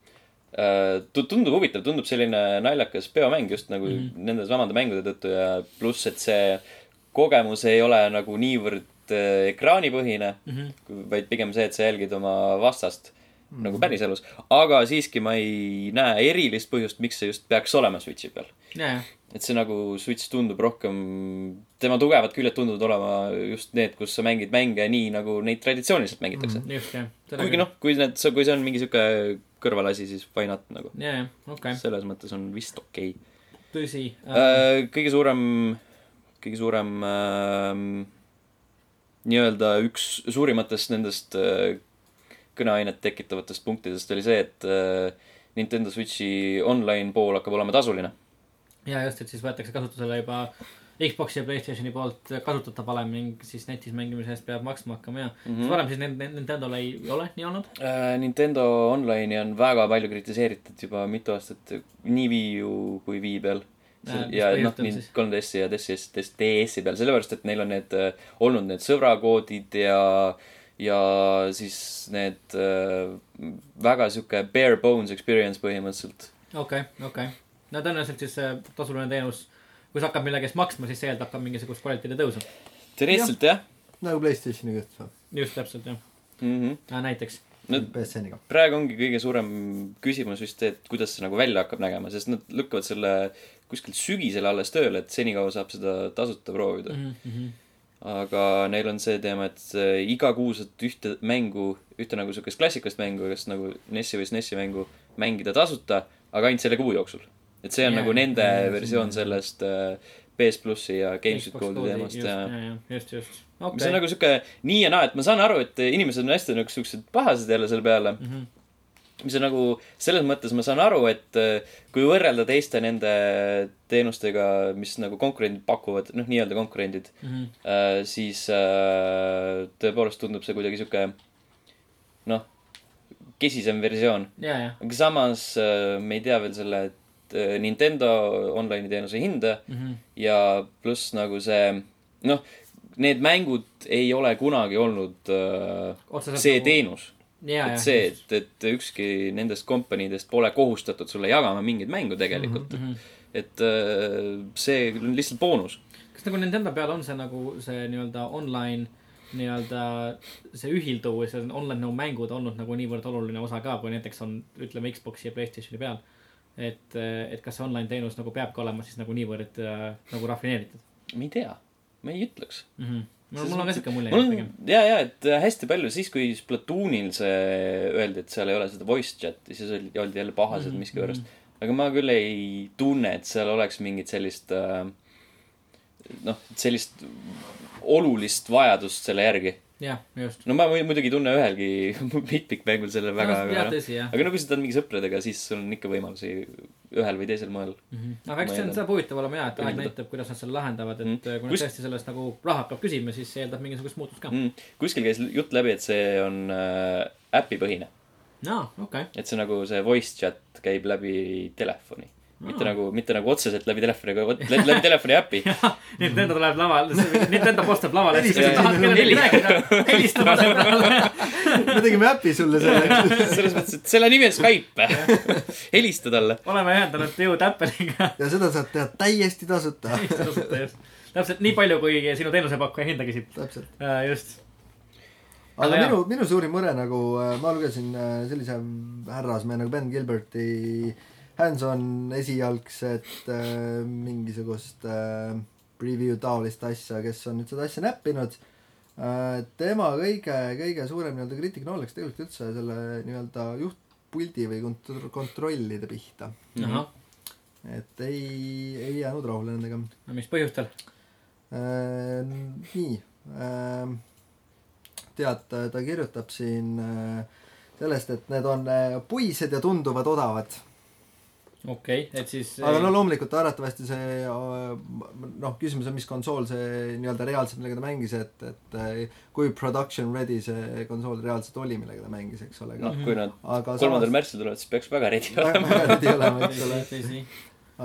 [SPEAKER 1] äh, , tundub huvitav , tundub selline naljakas peomäng just nagu mm -hmm. nende samade mängude tõttu ja pluss , et see kogemus ei ole nagu niivõrd äh, ekraanipõhine mm , -hmm. vaid pigem see , et sa jälgid oma vastast mm -hmm. nagu päriselus . aga siiski ma ei näe erilist põhjust , miks see just peaks olema Switchi peal .
[SPEAKER 2] jajah ,
[SPEAKER 1] et see nagu Switch tundub rohkem , tema tugevad küljed tunduvad olema just need , kus sa mängid mänge nii , nagu neid traditsiooniliselt mängitakse mm . -hmm
[SPEAKER 2] just jah .
[SPEAKER 1] kuigi . noh , kui need , kui see on mingi sihuke kõrvalasi , siis why not nagu .
[SPEAKER 2] jajah , okei ,
[SPEAKER 1] selles mõttes on vist okei
[SPEAKER 2] tõsi .
[SPEAKER 1] okay. . kõige suurem , kõige suurem ähm, nii-öelda üks suurimatest nendest äh, kõneainet tekitavatest punktidest oli see , et äh, Nintendo Switchi online pool hakkab olema tasuline .
[SPEAKER 2] ja just , et siis võetakse kasutusele juba Xbox'i ja Playstationi poolt kasutatav valem ning siis netis mängimise eest peab maksma hakkama ja mm
[SPEAKER 1] Mhm.
[SPEAKER 2] -hmm. varem siis Nin- Nintendo'l ei ole nii olnud .
[SPEAKER 1] Äh, Nintendo Online'i on väga palju kritiseeritud juba mitu aastat nii Wii U kui Wii peal .
[SPEAKER 2] Äh, mis
[SPEAKER 1] ja noh ,
[SPEAKER 2] põhjustel
[SPEAKER 1] nii
[SPEAKER 2] siis?
[SPEAKER 1] 3DS-i ja DS-i , DS-i peal , sellepärast et neil on need äh, olnud need sõbrakoodid ja , ja siis need äh, väga sihuke bare bones experience põhimõtteliselt .
[SPEAKER 2] okei , okei . no tõenäoliselt siis see tasuline teenus , kui sa hakkad millegi eest maksma , siis see eeldab ka mingisugust kvaliteedi tõusu .
[SPEAKER 1] teoreetiliselt jah
[SPEAKER 3] nagu Playstationiga just ,
[SPEAKER 2] just täpselt jah ,
[SPEAKER 1] mm . -hmm.
[SPEAKER 2] näiteks .
[SPEAKER 1] No,
[SPEAKER 3] PSN-iga .
[SPEAKER 1] praegu ongi kõige suurem küsimus vist see , et kuidas see nagu välja hakkab nägema , sest nad lükkavad selle kuskilt sügisele alles tööle , et senikaua saab seda tasuta
[SPEAKER 2] Mhm.
[SPEAKER 1] proovida . aga neil on see teema , et äh, igakuuselt ühte mängu , ühte nagu siukest klassikalist mängu , kas nagu NES-i või SNES-i mängu mängida tasuta , aga ainult selle kuu jooksul . et see on
[SPEAKER 2] Jaa,
[SPEAKER 1] nagu nende
[SPEAKER 2] jaa,
[SPEAKER 1] yeah,
[SPEAKER 2] jaa,
[SPEAKER 1] versioon sellest äh, PS plussi ja GameStop koodi teemast
[SPEAKER 2] just ,
[SPEAKER 1] ja
[SPEAKER 2] just , just .
[SPEAKER 1] mis on
[SPEAKER 2] okei ,
[SPEAKER 1] nagu sihuke nii ja naa , et ma saan aru , et inimesed on hästi nagu siuksed pahased jälle selle peale mm .
[SPEAKER 2] Mhm.
[SPEAKER 1] -hmm. mis on nagu selles mõttes ma saan aru , et äh, kui võrrelda teiste nende teenustega , mis nagu konkurendid pakuvad , noh , nii-öelda konkurendid mm ,
[SPEAKER 2] Mhm.
[SPEAKER 1] äh, siis äh, tõepoolest tundub see kuidagi sihuke noh , kesisem versioon .
[SPEAKER 2] ja , ja ,
[SPEAKER 1] aga samas äh, me ei tea veel selle äh, Nintendo online'i teenuse hinda mm
[SPEAKER 2] Mhm.
[SPEAKER 1] ja pluss nagu see , noh , need mängud ei ole kunagi olnud äh,
[SPEAKER 2] Otseselt
[SPEAKER 1] see
[SPEAKER 2] nagu-
[SPEAKER 1] teenus .
[SPEAKER 2] ja , ja
[SPEAKER 1] et . see , et , et ükski nendest kompaniidest pole kohustatud sulle jagama mingeid mängu tegelikult mm . -hmm. et äh, see on lihtsalt boonus .
[SPEAKER 2] kas nagu Nintendo peal on see nagu see nii-öelda online nii-öelda see ühilduvus ja see online nagu mängud olnud nagu niivõrd oluline osa ka , kui näiteks on , ütleme , Xbox'i ja Playstationi peal . et , et kas see online teenus nagu peabki olema siis nagu niivõrd äh, nagu rafineeritud
[SPEAKER 1] ma ei tea , ma ei ütleks
[SPEAKER 2] mm . -hmm. mul ,
[SPEAKER 1] Selles
[SPEAKER 2] mul on ka
[SPEAKER 1] mõttes-
[SPEAKER 2] siuke mulje
[SPEAKER 1] mul
[SPEAKER 2] jäänud
[SPEAKER 1] on
[SPEAKER 2] pigem .,
[SPEAKER 1] ja , ja , et äh, hästi palju , siis kui Splatoonil see öeldi , et seal ei ole seda voice chat'i , siis oli , oldi jälle pahased mm -hmm. miskipärast . aga ma küll ei tunne , et seal oleks mingit sellist äh, noh , sellist olulist vajadust selle järgi .
[SPEAKER 2] jah , just .
[SPEAKER 1] no ma mu- muidugi ei tunne (laughs) ühelgi Bitpick mängul selle väga ,
[SPEAKER 2] jah ,
[SPEAKER 1] aga noh ,
[SPEAKER 2] tõsi jah .
[SPEAKER 1] aga no kui sa teed mingi sõpradega , siis sul on ikka võimalusi ühel või teisel moel .
[SPEAKER 2] aga eks see on ,
[SPEAKER 1] Ma
[SPEAKER 2] saab huvitav olema jaa , et aeg
[SPEAKER 1] Üritada.
[SPEAKER 2] näitab , kuidas nad selle lahendavad , et
[SPEAKER 1] Mhm.
[SPEAKER 2] mm. kui nad
[SPEAKER 1] Kus-
[SPEAKER 2] tõesti sellest nagu raha hakkab küsima , siis see eeldab mingisugust muutust ka mm. .
[SPEAKER 1] mm. . kuskil käis jutt läbi , et see on äh, äpipõhine ,
[SPEAKER 2] aa , okei okay. .
[SPEAKER 1] et see nagu see voice chat käib läbi telefoni . mitte
[SPEAKER 2] Aa.
[SPEAKER 1] nagu , mitte nagu otseselt läbi telefoni , aga vot- läbi, (laughs) läbi telefoni äpi .
[SPEAKER 2] Nintendo tuleb lavale , Nintendo postab lavale , siis kui sa tahad
[SPEAKER 3] Helistage
[SPEAKER 2] kellegagi
[SPEAKER 1] sinna
[SPEAKER 2] rääkida , helista talle peale .
[SPEAKER 3] me tegime äpi sulle
[SPEAKER 1] (laughs)
[SPEAKER 3] selleks .
[SPEAKER 1] selles mõttes , et selle nimi on Skype . (laughs) helista talle .
[SPEAKER 2] oleme ühendanud jõud Apple'iga .
[SPEAKER 3] ja seda saad teha täiesti tasuta .
[SPEAKER 2] täpselt nii palju , kui sinu teenusepakkuja hinda küsib .
[SPEAKER 3] täpselt .
[SPEAKER 2] just .
[SPEAKER 3] aga
[SPEAKER 2] Aga jaa.
[SPEAKER 3] minu , minu suurim mure nagu äh, ma lugesin äh, sellise härrasmehe nagu Ben Gilberti hands-on esialgset äh, mingisugust äh, preview taolist asja , kes on nüüd seda asja näppinud . tema kõige , kõige suurem nii-öelda kriitikanool läks tegelikult üldse selle nii-öelda juhtpuldi või kontr- , kontrollide pihta .
[SPEAKER 2] ahah ,
[SPEAKER 3] et ei , ei jäänud rahule nendega
[SPEAKER 2] no mis põhjustel ?
[SPEAKER 3] Äh, nii äh, . tead , ta kirjutab siin äh, sellest , et need on äh, puised ja tunduvad odavad .
[SPEAKER 2] okei okay, , et siis .
[SPEAKER 3] aga no loomulikult arvatavasti see äh, noh , küsimus on , mis konsool see nii-öelda reaalselt , millega ta mängis , et , et äh, kui production ready see konsool reaalselt oli , millega ta mängis , eks ole .
[SPEAKER 1] noh , kui nad
[SPEAKER 3] aga
[SPEAKER 1] kolmandal märtsil tulevad , siis peaks väga ready olema .
[SPEAKER 3] väga ready olema , eks ole .
[SPEAKER 2] tõsi ,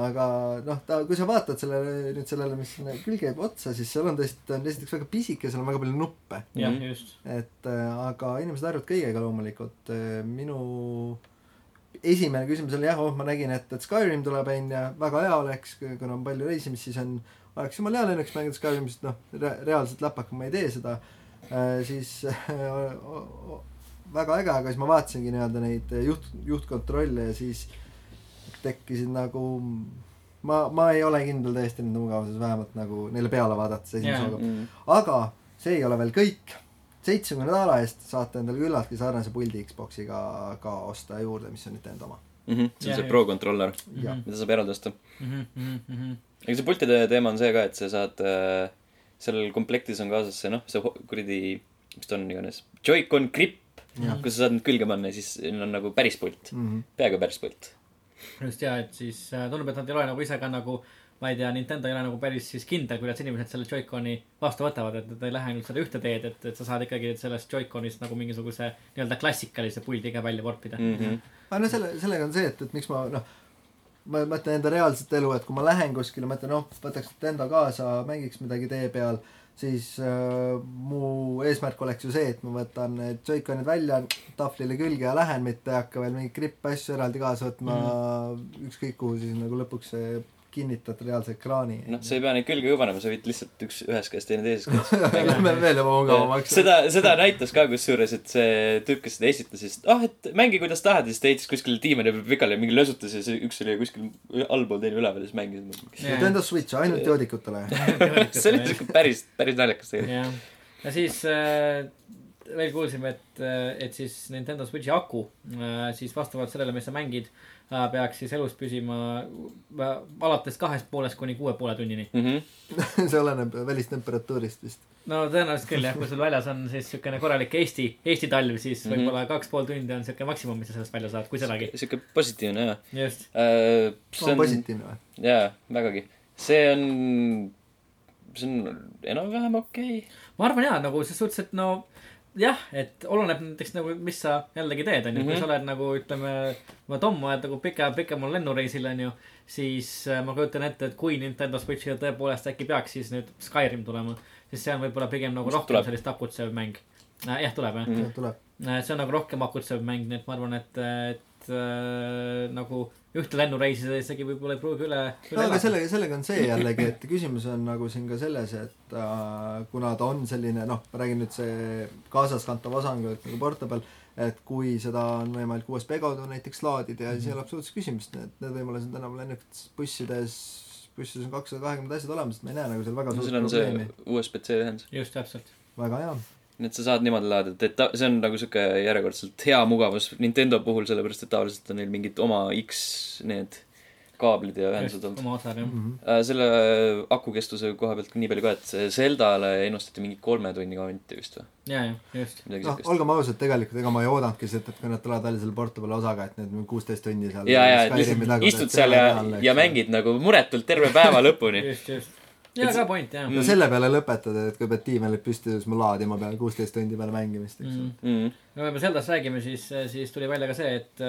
[SPEAKER 3] aga noh , ta , kui sa vaatad sellele nüüd sellele , mis sinna külge jääb otsa , siis seal on tõesti , ta on esiteks väga pisike , seal on väga palju nuppe .
[SPEAKER 2] jah ,
[SPEAKER 1] Mhm.
[SPEAKER 2] just .
[SPEAKER 3] et äh, aga inimesed harjuvad kõigega loomulikult . minu esimene küsimus oli jah , oh ma nägin , et , et Skyrim tuleb onju , väga hea oleks , kuna on palju reisimist , siis on , oleks jumala hea lennuks mängida Skyrim , sest noh re, , reaalselt läpaka ma ei tee seda . siis (laughs) äh, o- o- väga äge , aga siis ma vaatasingi nii-öelda neid juht , juhtkontrolle ja siis tekkisid nagu ma , ma ei ole kindel täiesti nende mugavuses vähemalt nagu neile peale vaadates
[SPEAKER 2] Jaa.
[SPEAKER 3] esimese hooga aga see ei ole veel kõik . seitsmekümne naela eest saate endale küllaltki sarnase puldi Xboxiga ka osta juurde , mis on Nintendo oma .
[SPEAKER 1] see on
[SPEAKER 2] Jah,
[SPEAKER 1] see
[SPEAKER 2] jah.
[SPEAKER 1] Pro controller ,
[SPEAKER 3] jah ,
[SPEAKER 1] Mhm. mida saab eraldi osta .
[SPEAKER 2] jah ,
[SPEAKER 1] ega see pultide teema on see ka , et sa saad , sellel komplektis on kaasas see noh , see ho- kuradi , mis ta on iganes , Joy-Con gripp ,
[SPEAKER 3] jah .
[SPEAKER 1] kus sa saad need külge panna ja siis neil on nagu päris pult , peaaegu päris pult .
[SPEAKER 2] just ja , et siis äh, tundub , et nad ei ole nagu ise ka nagu , ma ei tea , Nintendo ei ole nagu päris siis kindel , kuidas inimesed selle Joy-Coni vastu võtavad , et nad ei lähe ainult seda ühte teed , et , et sa saad ikkagi sellest Joy-Conist nagu mingisuguse nii-öelda klassikalise puldi ka välja vorpida mm .
[SPEAKER 1] Mhm.
[SPEAKER 2] -hmm.
[SPEAKER 3] aga Ah, no selle , sellega on see , et , et miks ma noh , ma mõtlen enda reaalset elu , et kui ma lähen kuskile , ma ütlen , noh , võtaks Nintendo kaasa , mängiks midagi tee peal , siis äh, mu eesmärk oleks ju see , et ma võtan need Joy-Conid välja tahvlile külge ja lähen , mitte ei hakka veel mingeid grippe asju eraldi kaasa võtma mm. ükskõik kuhu siis nagu lõpuks see kinnitad reaalse ekraani .
[SPEAKER 1] noh , sa ei pea neid külge kõvanema , sa võid lihtsalt üks , ühes käes , teine teises käes .
[SPEAKER 3] Lähme veel juba mugavamaks .
[SPEAKER 1] seda , seda näitas ka kusjuures , et see tüüp , kes seda esitas , siis ah , et mängi kuidas tahad ja siis ta heitis kuskile diimani peale pikali ja mingi lösutas ja see üks oli kuskil allpool , teine üleval ja siis mängis .
[SPEAKER 3] Nintendo Switch ainult joodikutele .
[SPEAKER 1] (laughs) see oli siuke päris , päris naljakas tegelikult .
[SPEAKER 2] jah , ja siis äh, veel kuulsime , et , et siis Nintendo Switchi aku äh, siis vastavalt sellele , mis sa mängid äh, , peaks siis elus püsima äh, alates kahest poolest kuni kuue poole tunnini .
[SPEAKER 1] mm . -hmm.
[SPEAKER 3] (laughs) see oleneb välistemperatuurist vist .
[SPEAKER 2] no tõenäoliselt küll jah , kui sul väljas on siis siukene korralik Eesti , Eesti talv , siis
[SPEAKER 1] Mhm.
[SPEAKER 2] võib-olla kaks pool tundi on siuke maksimum , mis sa sellest välja saad , kui sedagi .
[SPEAKER 1] sihuke positiivne jah
[SPEAKER 2] just ,
[SPEAKER 1] äh, . see
[SPEAKER 3] on
[SPEAKER 1] on ,
[SPEAKER 3] positiivne või ?
[SPEAKER 1] jaa , vägagi . see on , see on enam-vähem okei okay. .
[SPEAKER 2] ma arvan jaa , nagu ses suhtes , et no jah , et oleneb näiteks nagu , mis sa jällegi teed , onju , kui
[SPEAKER 1] Mhm.
[SPEAKER 2] sa oled nagu ütleme , ma toon , ma olen nagu pika , pikemal lennureisil onju , siis äh, ma kujutan ette , et kui Nintendo Switchile tõepoolest äkki peaks siis nüüd Skyrim tulema , siis see on võib-olla pigem nagu
[SPEAKER 1] Vist
[SPEAKER 2] rohkem
[SPEAKER 1] tuleb.
[SPEAKER 2] tuleb. sellist akutsev mäng . jah , tuleb jah mm. ,
[SPEAKER 1] Mm.
[SPEAKER 3] tuleb .
[SPEAKER 2] see on nagu rohkem akutsev mäng , nii et ma arvan , et , et äh, nagu ühte lennureisi sa isegi võib-olla ei pruugi üle ,
[SPEAKER 3] no
[SPEAKER 2] üle
[SPEAKER 3] aga . sellega , sellega on see jällegi , et küsimus on nagu siin ka selles , et äh, kuna ta on selline noh , ma räägin nüüd see kaasaskantav osa on ka nagu portable , et kui seda on võimalik USB kaudu näiteks laadida ja
[SPEAKER 1] Mhm.
[SPEAKER 3] siis ei ole absoluutselt küsimust , et need võimalused on enam lennukites , bussides , bussides on kakssada kahekümned asjad olemas , et ma ei näe nagu seal väga
[SPEAKER 1] no
[SPEAKER 3] suurt
[SPEAKER 1] seal on see
[SPEAKER 3] probleemi .
[SPEAKER 1] USB-C ühendus .
[SPEAKER 2] just täpselt ,
[SPEAKER 3] väga hea .
[SPEAKER 1] nii et sa saad niimoodi laadida , et ta , see on nagu sihuke järjekordselt hea mugavus Nintendo puhul , sellepärast et tavaliselt on neil mingid oma X need kaablid ja ühendused olnud .
[SPEAKER 2] oma osaga jah .
[SPEAKER 1] Äh, selle aku kestuse koha pealt ka nii palju ka , et see Zeldale ennustati mingi kolme tunni kanti vist või ?
[SPEAKER 2] ja , ja just .
[SPEAKER 1] midagi
[SPEAKER 3] noh ,
[SPEAKER 1] siukest .
[SPEAKER 3] olgem ausad , tegelikult ega ma ei oodanudki seda , et kui nad tulevad välja selle Portable osaga , et need on kuusteist tundi seal .
[SPEAKER 1] ja , ja , et lihtsalt istud seal ja , ja . mängid nagu muretult terve päeva
[SPEAKER 2] (laughs)
[SPEAKER 1] lõpuni .
[SPEAKER 2] just , just . ja ka point jah .
[SPEAKER 1] Mm.
[SPEAKER 3] no selle peale lõpetada , et kui pead tiimile püsti tõusma laadima peale kuusteist tundi peale mängimist , eks ju .
[SPEAKER 1] Mm.
[SPEAKER 2] Mhm. no kui me Zeldast räägime , siis , siis tuli välja ka see , et ,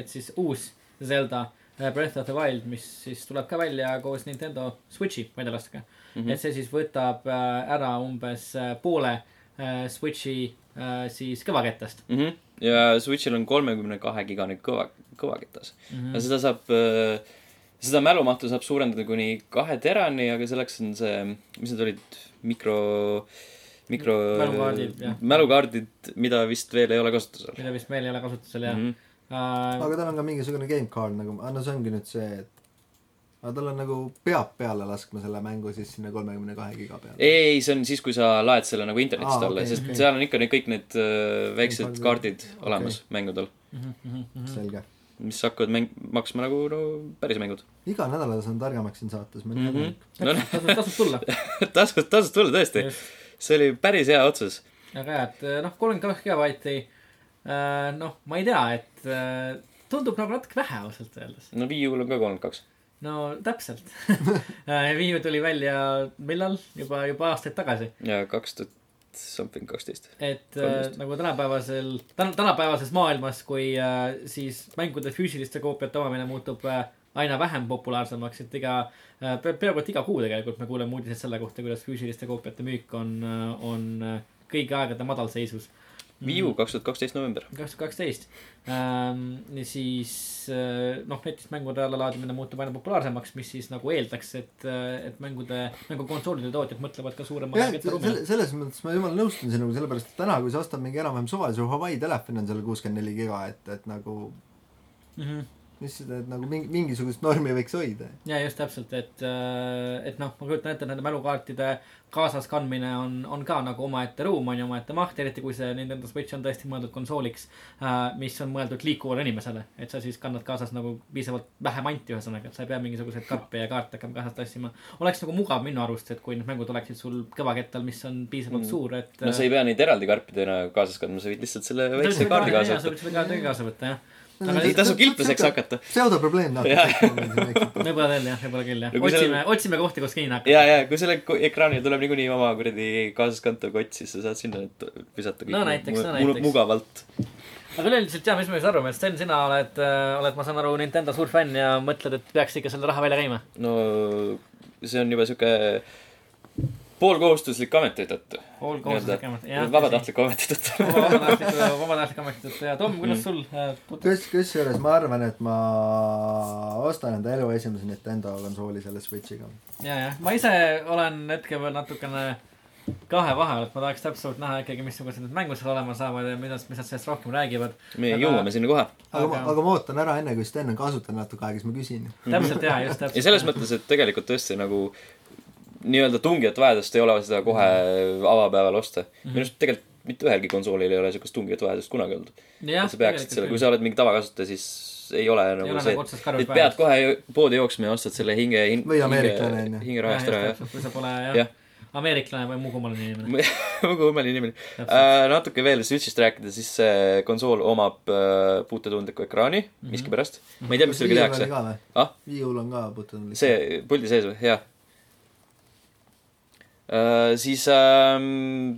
[SPEAKER 2] et siis uus Zelda äh, Breath of the Wild , mis siis tuleb ka välja koos Nintendo Switchi väljalastega mm . -hmm. et see siis võtab äh, ära umbes äh, poole äh, Switchi äh, siis kõvakettast .
[SPEAKER 1] Mm -hmm. ja Switchil on kolmekümne kahe gigane kõva , kõvaketas mm .
[SPEAKER 3] Mhm.
[SPEAKER 1] -hmm. ja seda saab , seda mälumahtu saab suurendada kuni kahe terani , aga selleks on see , mis need olid , mikro , mikro
[SPEAKER 2] Mälukaardid, jah.
[SPEAKER 1] mälukaardid , mida vist veel ei ole kasutusel .
[SPEAKER 2] mida vist meil ei ole kasutusel ja mm .
[SPEAKER 1] Mhm.
[SPEAKER 2] -hmm.
[SPEAKER 3] aga tal on ka mingisugune game card nagu , no see ongi nüüd see , et aga tal on nagu , peab peale laskma selle mängu siis sinna kolmekümne kahe giga peale .
[SPEAKER 1] ei , ei , see on siis , kui sa laed selle nagu internetist
[SPEAKER 3] Aa,
[SPEAKER 1] alla
[SPEAKER 3] okei,
[SPEAKER 1] okay, , sest
[SPEAKER 3] okei.
[SPEAKER 1] okay. seal on ikka need kõik need öö, väiksed
[SPEAKER 3] Kaardid.
[SPEAKER 1] kaardid olemas okay. mängudel , Mhm.
[SPEAKER 3] selge .
[SPEAKER 1] mis hakkavad mäng- , maksma nagu no päris mängud .
[SPEAKER 3] iga nädala saan targemaks siin saates , ma
[SPEAKER 1] Mhm.
[SPEAKER 3] tean mm . -hmm.
[SPEAKER 1] no
[SPEAKER 2] tasub , tasub tulla .
[SPEAKER 1] (laughs) tasus , tasus tulla tõesti . see oli päris hea otsus .
[SPEAKER 2] aga jah , et noh , kolmkümmend kaks gigabaiti äh, , noh , ma ei tea , et äh, tundub nagu natuke vähe ausalt öeldes .
[SPEAKER 1] no Wii U-l on ka kolmkümmend kaks .
[SPEAKER 2] no täpselt (laughs) Wii U tuli välja millal , juba , juba aastaid tagasi ,
[SPEAKER 1] ja kaks tuhat something kaksteist .
[SPEAKER 2] et äh,
[SPEAKER 1] Kolmteist.
[SPEAKER 2] nagu tänapäevasel , täna , tänapäevases maailmas , kui äh, siis mängude füüsiliste koopiate omamine muutub äh, aina vähem populaarsemaks , et iga äh, , peaaegu et iga kuu tegelikult me kuuleme uudiseid selle kohta , kuidas füüsiliste koopiate müük on , on äh, kõigi aegade madalseisus .
[SPEAKER 1] Wii
[SPEAKER 2] Mm.
[SPEAKER 1] U kaks tuhat kaksteist november .
[SPEAKER 2] kaks tuhat kaksteist . siis äh, noh , netis mängude allalaadimine muutub aina populaarsemaks , mis siis nagu eeldaks , et , et mängude , mängukonsoolide tootjad mõtlevad ka suurema
[SPEAKER 3] jah , selle , selles mõttes ma jumala nõustun sinuga , sellepärast et täna , kui sa ostad mingi enam-vähem suvalise Hawaii telefoni , on seal kuuskümmend neli giga , et , et nagu
[SPEAKER 2] mhmh ,
[SPEAKER 3] mis seda , et nagu mingi , mingisugust normi võiks hoida .
[SPEAKER 2] ja just täpselt , et , et noh , ma kujutan ette , nende mälukaartide kaasas kandmine on , on ka nagu omaette ruum , on ju , omaette maht , eriti kui see Nintendo Switch on tõesti mõeldud konsooliks , mis on mõeldud liikuvale inimesele . et sa siis kannad kaasas nagu piisavalt vähe manti , ühesõnaga , et sa ei pea mingisuguseid kappe ja kaarte hakkama kaasas tassima . oleks nagu mugav minu arust , et kui need mängud oleksid sul kõvakettal , mis on piisavalt mm. suur , et .
[SPEAKER 1] no sa ei pea neid eraldi karpidena kaasas kandma , sa võid lihtsalt selle väikse kaardi kaasa
[SPEAKER 2] sa
[SPEAKER 1] võtta .
[SPEAKER 2] võid selle kaardi kaasa võtta ,
[SPEAKER 3] Mm.
[SPEAKER 2] jah .
[SPEAKER 1] Ei tasu kilplaseks hakata.
[SPEAKER 3] pseudoprobleem noh. (laughs) natuke .
[SPEAKER 2] võib-olla veel jah , võib-olla küll jah
[SPEAKER 1] No . kui seal-
[SPEAKER 2] otsime , otsime kohti , kus kinni hakata .
[SPEAKER 1] ja , ja kui selle ko- ekraanile tuleb niikuinii oma kuradi kaasaskantav kott , siis sa saad sinna need visata kõik
[SPEAKER 2] No näiteks, no
[SPEAKER 1] mu- mu-
[SPEAKER 2] näiteks.
[SPEAKER 1] mugavalt .
[SPEAKER 2] aga üleüldiselt jah , mis me siis arvame , et Sten , sina oled , oled , ma saan aru , Nintendo suur fänn ja mõtled , et peaks ikka selle raha välja käima .
[SPEAKER 1] no see on juba sihuke poolkohustuslik ameti tõttu .
[SPEAKER 2] Pool kohustuslik ameti, jah.
[SPEAKER 1] vabatahtlik ameti
[SPEAKER 2] (laughs)
[SPEAKER 1] tõttu .
[SPEAKER 2] vabatahtliku , vabatahtliku ametitöötaja ja Tom , kuidas sul äh, tuttav-
[SPEAKER 3] kus , kusjuures ma arvan , et ma ostan enda elu esimese Nintendo konsooli selle Switch'iga .
[SPEAKER 2] ja , ja ma ise olen hetkel veel natukene kahe vahel , et ma tahaks täpsemalt näha ikkagi , missugused need mängud seal olema saavad ja millest , mis nad sellest rohkem räägivad .
[SPEAKER 1] me jõuame . sinna kohe .
[SPEAKER 3] aga ma ,
[SPEAKER 2] Aga-
[SPEAKER 3] aga ma ootan ära enne , kui Sten on kasutanud natuke aega , siis ma küsin .
[SPEAKER 2] täpselt ja , just
[SPEAKER 1] ja
[SPEAKER 2] täpselt .
[SPEAKER 1] selles mõttes , et tegelikult tõesti nagu nii-öelda tungijat vajadust ei ole seda kohe avapäeval osta .
[SPEAKER 2] Mhm.
[SPEAKER 1] minu arust tegelikult mitte ühelgi konsoolil ei ole siukest tungijat vajadust kunagi olnud .
[SPEAKER 2] jah ,
[SPEAKER 1] sa peaksid selle , kui sa oled mingi tavakasutaja , siis ei ole nagu
[SPEAKER 2] ole
[SPEAKER 1] see ,
[SPEAKER 2] nagu otsest karvi
[SPEAKER 1] et
[SPEAKER 2] päevas.
[SPEAKER 1] pead kohe ju- poodi jooksma ja ostad selle hinge ,
[SPEAKER 3] Või
[SPEAKER 1] hinge ,
[SPEAKER 3] ameeriklane, on
[SPEAKER 1] hinge
[SPEAKER 3] ju. ,
[SPEAKER 1] hinge rahast ära , jah . (laughs)
[SPEAKER 2] küll . kui sa pole
[SPEAKER 1] Jah.
[SPEAKER 2] jah , ameeriklane või muu kummaline inimene .
[SPEAKER 1] väga kummaline inimene
[SPEAKER 2] Täpselt.
[SPEAKER 1] äh, . natuke veel Switch'ist rääkida , siis see konsool omab äh, puututundliku ekraani mm
[SPEAKER 2] Mhm.
[SPEAKER 1] -hmm. miskipärast . ma ei tea , mis sellega tehakse . ah ,
[SPEAKER 3] viiul on ka putunud .
[SPEAKER 1] see puldi sees või ? jaa äh, . siis äh,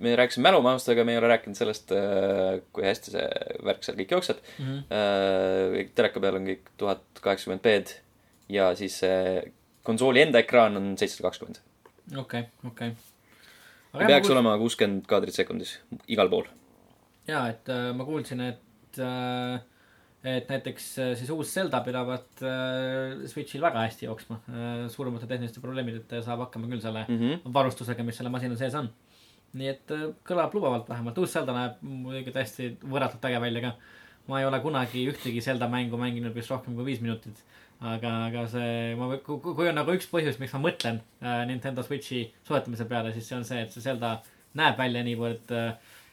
[SPEAKER 1] me rääkisime mälumahust , aga me ei ole rääkinud sellest äh, , kui hästi see värk seal kõik jookseb mm .
[SPEAKER 2] Mhm.
[SPEAKER 1] -hmm. äh, teleka peal on kõik tuhat kaheksakümmend B-d ja siis äh, konsooli enda ekraan on seitsesada kakskümmend .
[SPEAKER 2] okei , okei .
[SPEAKER 1] peaks kuul... olema kuuskümmend kaadrit sekundis igal pool
[SPEAKER 2] jaa , et äh, ma kuulsin , et äh, , et näiteks äh, siis uus Zelda pidavat äh, Switchil väga hästi jooksma äh, . suuremate tehniliste probleemideta ja saab hakkama küll selle mm -hmm. varustusega , mis selle masina sees on . nii et äh, kõlab lubavalt vähemalt . uus Zelda näeb muidugi täiesti võrratult äge välja ka . ma ei ole kunagi ühtegi Zelda mängu mänginud vist rohkem kui viis minutit . aga , aga see , ma , kui on nagu üks põhjus , miks ma mõtlen äh, Nintendo Switchi soetamise peale , siis see on see , et see Zelda näeb välja niivõrd äh,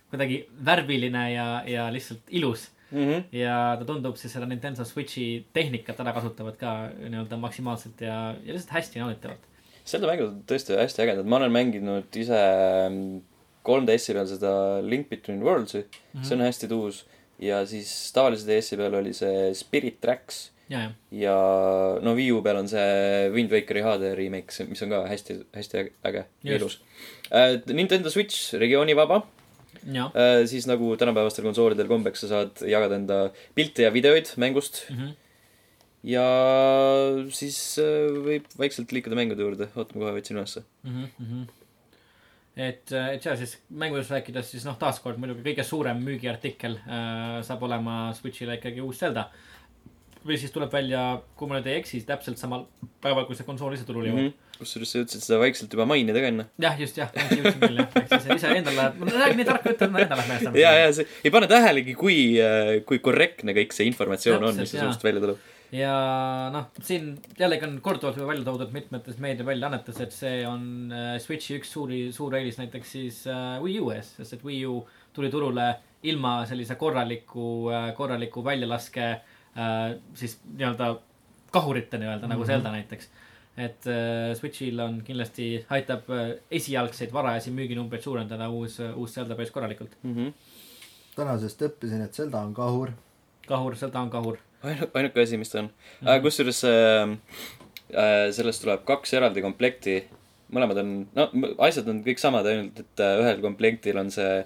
[SPEAKER 2] kuidagi värviline ja , ja lihtsalt ilus .
[SPEAKER 1] mhmh ,
[SPEAKER 2] ja ta tundub siis seda Nintendo Switchi tehnikat ära kasutavad ka nii-öelda maksimaalselt ja , ja lihtsalt hästi nauditavalt .
[SPEAKER 1] seda mängu tõesti hästi ägedad , ma olen mänginud ise ähm, 3DS-i peal seda Link Between Worlds'i mm , -hmm. see on hästi tuus ja siis tavalise DS-i peal oli see Spirit Tracks
[SPEAKER 2] ja , ja ,
[SPEAKER 1] ja no Wii U peal on see Wind Wakeri HD remake , see , mis on ka hästi , hästi äge- äge ja
[SPEAKER 2] Just.
[SPEAKER 1] ilus äh, . Nintendo Switch , regioonivaba
[SPEAKER 2] ja
[SPEAKER 1] äh, , siis nagu tänapäevastel konsoolidel kombeks , sa saad jagada enda pilte ja videoid mängust
[SPEAKER 2] mm . -hmm.
[SPEAKER 1] ja siis äh, võib vaikselt liikuda mängude juurde , oota , ma kohe võtsin ülesse .
[SPEAKER 2] Mm -hmm. et , et ja siis mängudest rääkides , siis noh , taaskord muidugi kõige suurem müügiartikkel äh, saab olema Switch'ile ikkagi uus Zelda . või siis tuleb välja , kui ma nüüd ei eksi , täpselt samal päeval , kui see konsool ise turule
[SPEAKER 1] Mhm.
[SPEAKER 2] jõuab mm .
[SPEAKER 1] kusjuures sa jõudsid seda vaikselt juba mainida ka enne .
[SPEAKER 2] -hmm. jah , just jah , jõudsin küll jah , eks siis ise endale , ma räägin nii tarka juttu , et ma endale meelest
[SPEAKER 1] ja , ja see , ei pane tähelegi , kui , kui korrektne kõik see informatsioon on , mis
[SPEAKER 2] Täpselt,
[SPEAKER 1] su
[SPEAKER 2] jaa.
[SPEAKER 1] suust välja tuleb .
[SPEAKER 2] ja noh , siin jällegi on korduvalt juba välja toodud mitmetes meediaväljaannetes , et see on äh, Switchi üks suuri , suur eelis näiteks siis äh, Wii U ees , sest et Wii U tuli turule ilma sellise korraliku äh, , korraliku väljalaske äh, siis nii-öelda kahurita nii-öelda nagu Zelda näiteks . et äh, Switchil on kindlasti , aitab äh, esialgseid varajasi müüginumbreid suurendada uus , uus Zelda päris korralikult .
[SPEAKER 3] tänasest õppisin , et Zelda on kahur .
[SPEAKER 2] kahur , Zelda on kahur .
[SPEAKER 1] ainu- , ainuke asi , mis ta on mm
[SPEAKER 2] Mhm.
[SPEAKER 1] -hmm. . kusjuures äh, äh, sellest tuleb kaks eraldi komplekti . mõlemad on , no m- asjad on kõik samad , ainult et äh, ühel komplektil on see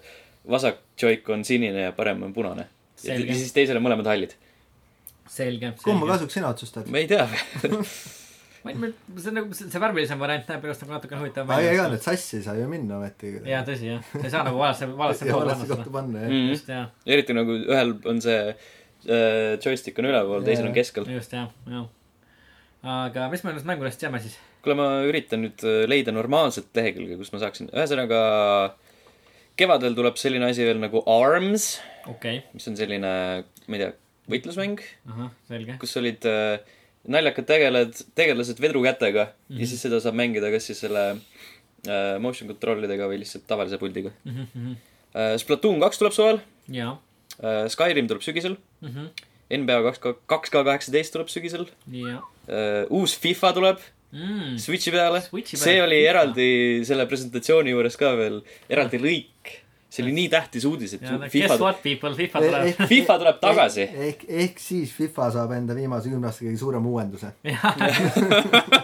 [SPEAKER 1] vasak joik on sinine ja parem on punane . ja
[SPEAKER 2] Selge.
[SPEAKER 1] siis teisel on mõlemad hallid .
[SPEAKER 2] selge .
[SPEAKER 3] kumma kasuks sina otsustad ?
[SPEAKER 1] ma ei
[SPEAKER 2] (laughs)
[SPEAKER 1] tea .
[SPEAKER 2] ma ei , see on nagu see see värvilisem variant näeb minu arust nagu natukene huvitavam
[SPEAKER 3] aga ega need . sassi ei saa ju minna ometigi .
[SPEAKER 2] jaa , tõsi jah , sa ei saa nagu valasse , valasse
[SPEAKER 3] ja
[SPEAKER 2] poole
[SPEAKER 3] valesse
[SPEAKER 2] panna
[SPEAKER 3] kohta
[SPEAKER 2] seda .
[SPEAKER 3] panna jah .
[SPEAKER 1] Mm.
[SPEAKER 2] noh. just jah ,
[SPEAKER 1] eriti nagu ühel on see äh, joystick on üleval , teisel on
[SPEAKER 3] Jaa.
[SPEAKER 1] keskel .
[SPEAKER 2] just jah , jah . aga mis me nendest mängudest teame siis ?
[SPEAKER 1] kuule , ma üritan nüüd äh, leida normaalset lehekülge , kus ma saaksin , ühesõnaga kevadel tuleb selline asi veel nagu ARMS ,
[SPEAKER 2] okei ,
[SPEAKER 1] mis on selline , ma ei tea , võitlusmäng ,
[SPEAKER 2] ahah , selge .
[SPEAKER 1] kus olid äh, naljakad tegeled , tegelased vedrukätega mm -hmm. ja siis seda saab mängida kas siis selle äh, motion control'idega või lihtsalt tavalise puldiga äh, . Splatoon kaks tuleb suvel
[SPEAKER 2] Mhm, jaa , Mhm,
[SPEAKER 1] äh, , Skyrim tuleb sügisel , NBA kaks , kaks K kaheksateist tuleb sügisel
[SPEAKER 2] jaa . Mm.
[SPEAKER 1] äh, , uus FIFA tuleb Switchi peale .
[SPEAKER 2] Switchi peale.
[SPEAKER 1] see oli
[SPEAKER 2] FIFA.
[SPEAKER 1] eraldi selle presentatsiooni juures ka veel eraldi lõik . see oli nii tähtis uudis , et
[SPEAKER 2] ja no
[SPEAKER 1] FIFA
[SPEAKER 2] guess , what people , FIFA (laughs)
[SPEAKER 3] Eh,
[SPEAKER 2] tuleb .
[SPEAKER 3] eh,
[SPEAKER 1] FIFA tuleb tagasi .
[SPEAKER 3] ehk , ehk siis FIFA saab enda viimase kümne aasta kõige suurema uuenduse .
[SPEAKER 2] jah ,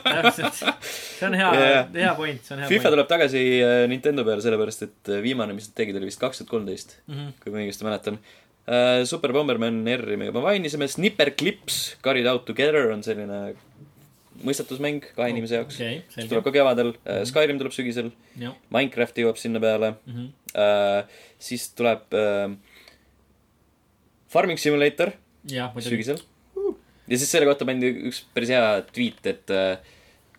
[SPEAKER 2] täpselt . see on hea
[SPEAKER 1] Jaa. ,
[SPEAKER 2] hea point , see on hea
[SPEAKER 1] FIFA
[SPEAKER 2] point .
[SPEAKER 1] tuleb tagasi äh, Nintendo peale , sellepärast et äh, viimane , mis nad tegid , oli vist kaks tuhat kolmteist ,
[SPEAKER 2] Mhm.
[SPEAKER 1] kui ma õigesti mäletan . Super Bomberman R-i me juba mainisime , Snipper Clips , Carried Out Together on selline mõistatusmäng
[SPEAKER 2] Oh,
[SPEAKER 1] kahe inimese jaoks ,
[SPEAKER 2] okei ,
[SPEAKER 1] mis tuleb
[SPEAKER 2] selge ,
[SPEAKER 1] ka kevadel ,
[SPEAKER 2] Mhm.
[SPEAKER 1] Skyrim tuleb sügisel ,
[SPEAKER 2] jah .
[SPEAKER 1] Minecraft jõuab sinna peale
[SPEAKER 2] Mhm.
[SPEAKER 1] Äh, siis tuleb äh, Farming Simulator
[SPEAKER 2] jah , (laughs) muidugi .
[SPEAKER 1] sügisel . ja siis selle kohta pandi üks päris hea tweet , et äh,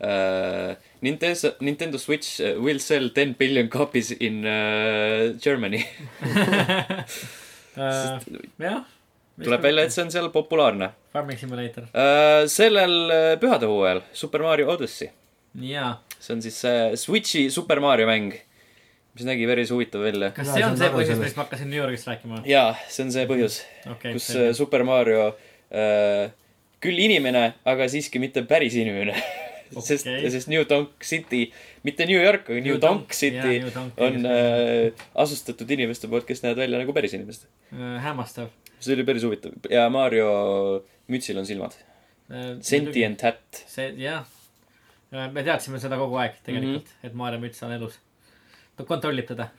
[SPEAKER 1] äh, Nintendo , Nintendo Switch äh, will sell ten billion copies in äh, Germany .
[SPEAKER 2] Äh, jah .
[SPEAKER 1] tuleb välja , et see on seal populaarne
[SPEAKER 2] Farming Simulator ,
[SPEAKER 1] äh, . sellel äh, pühadehooajal Super Mario Odyssey ,
[SPEAKER 2] jaa
[SPEAKER 1] see on siis see Switchi Super Mario mäng , mis nägi päris huvitav välja .
[SPEAKER 2] kas
[SPEAKER 3] Mina
[SPEAKER 2] see
[SPEAKER 3] ei
[SPEAKER 2] on
[SPEAKER 3] saanud
[SPEAKER 2] see
[SPEAKER 1] nagu
[SPEAKER 3] aru
[SPEAKER 2] põhjus ,
[SPEAKER 3] sellest.
[SPEAKER 2] miks ma hakkasin New Yorgist rääkima ?
[SPEAKER 1] jaa , see on see põhjus
[SPEAKER 2] okei ,
[SPEAKER 1] kus äh, Super Mario äh, küll inimene , aga siiski mitte päris inimene (laughs) okay. . sest ,
[SPEAKER 2] Okei.
[SPEAKER 1] sest New Donk City , mitte New York , aga New, New Donk, Donk City yeah, on äh, asustatud inimeste poolt , kes näevad välja nagu päris inimesed .
[SPEAKER 2] Äh, hämmastav .
[SPEAKER 1] see oli päris huvitav ja Mario mütsil on silmad . Sentient hat .
[SPEAKER 2] Äh, see , jah . me teadsime seda kogu aeg tegelikult
[SPEAKER 1] Mhm.
[SPEAKER 2] mm , -hmm. et Maarja Müts on elus . ta kontrollib teda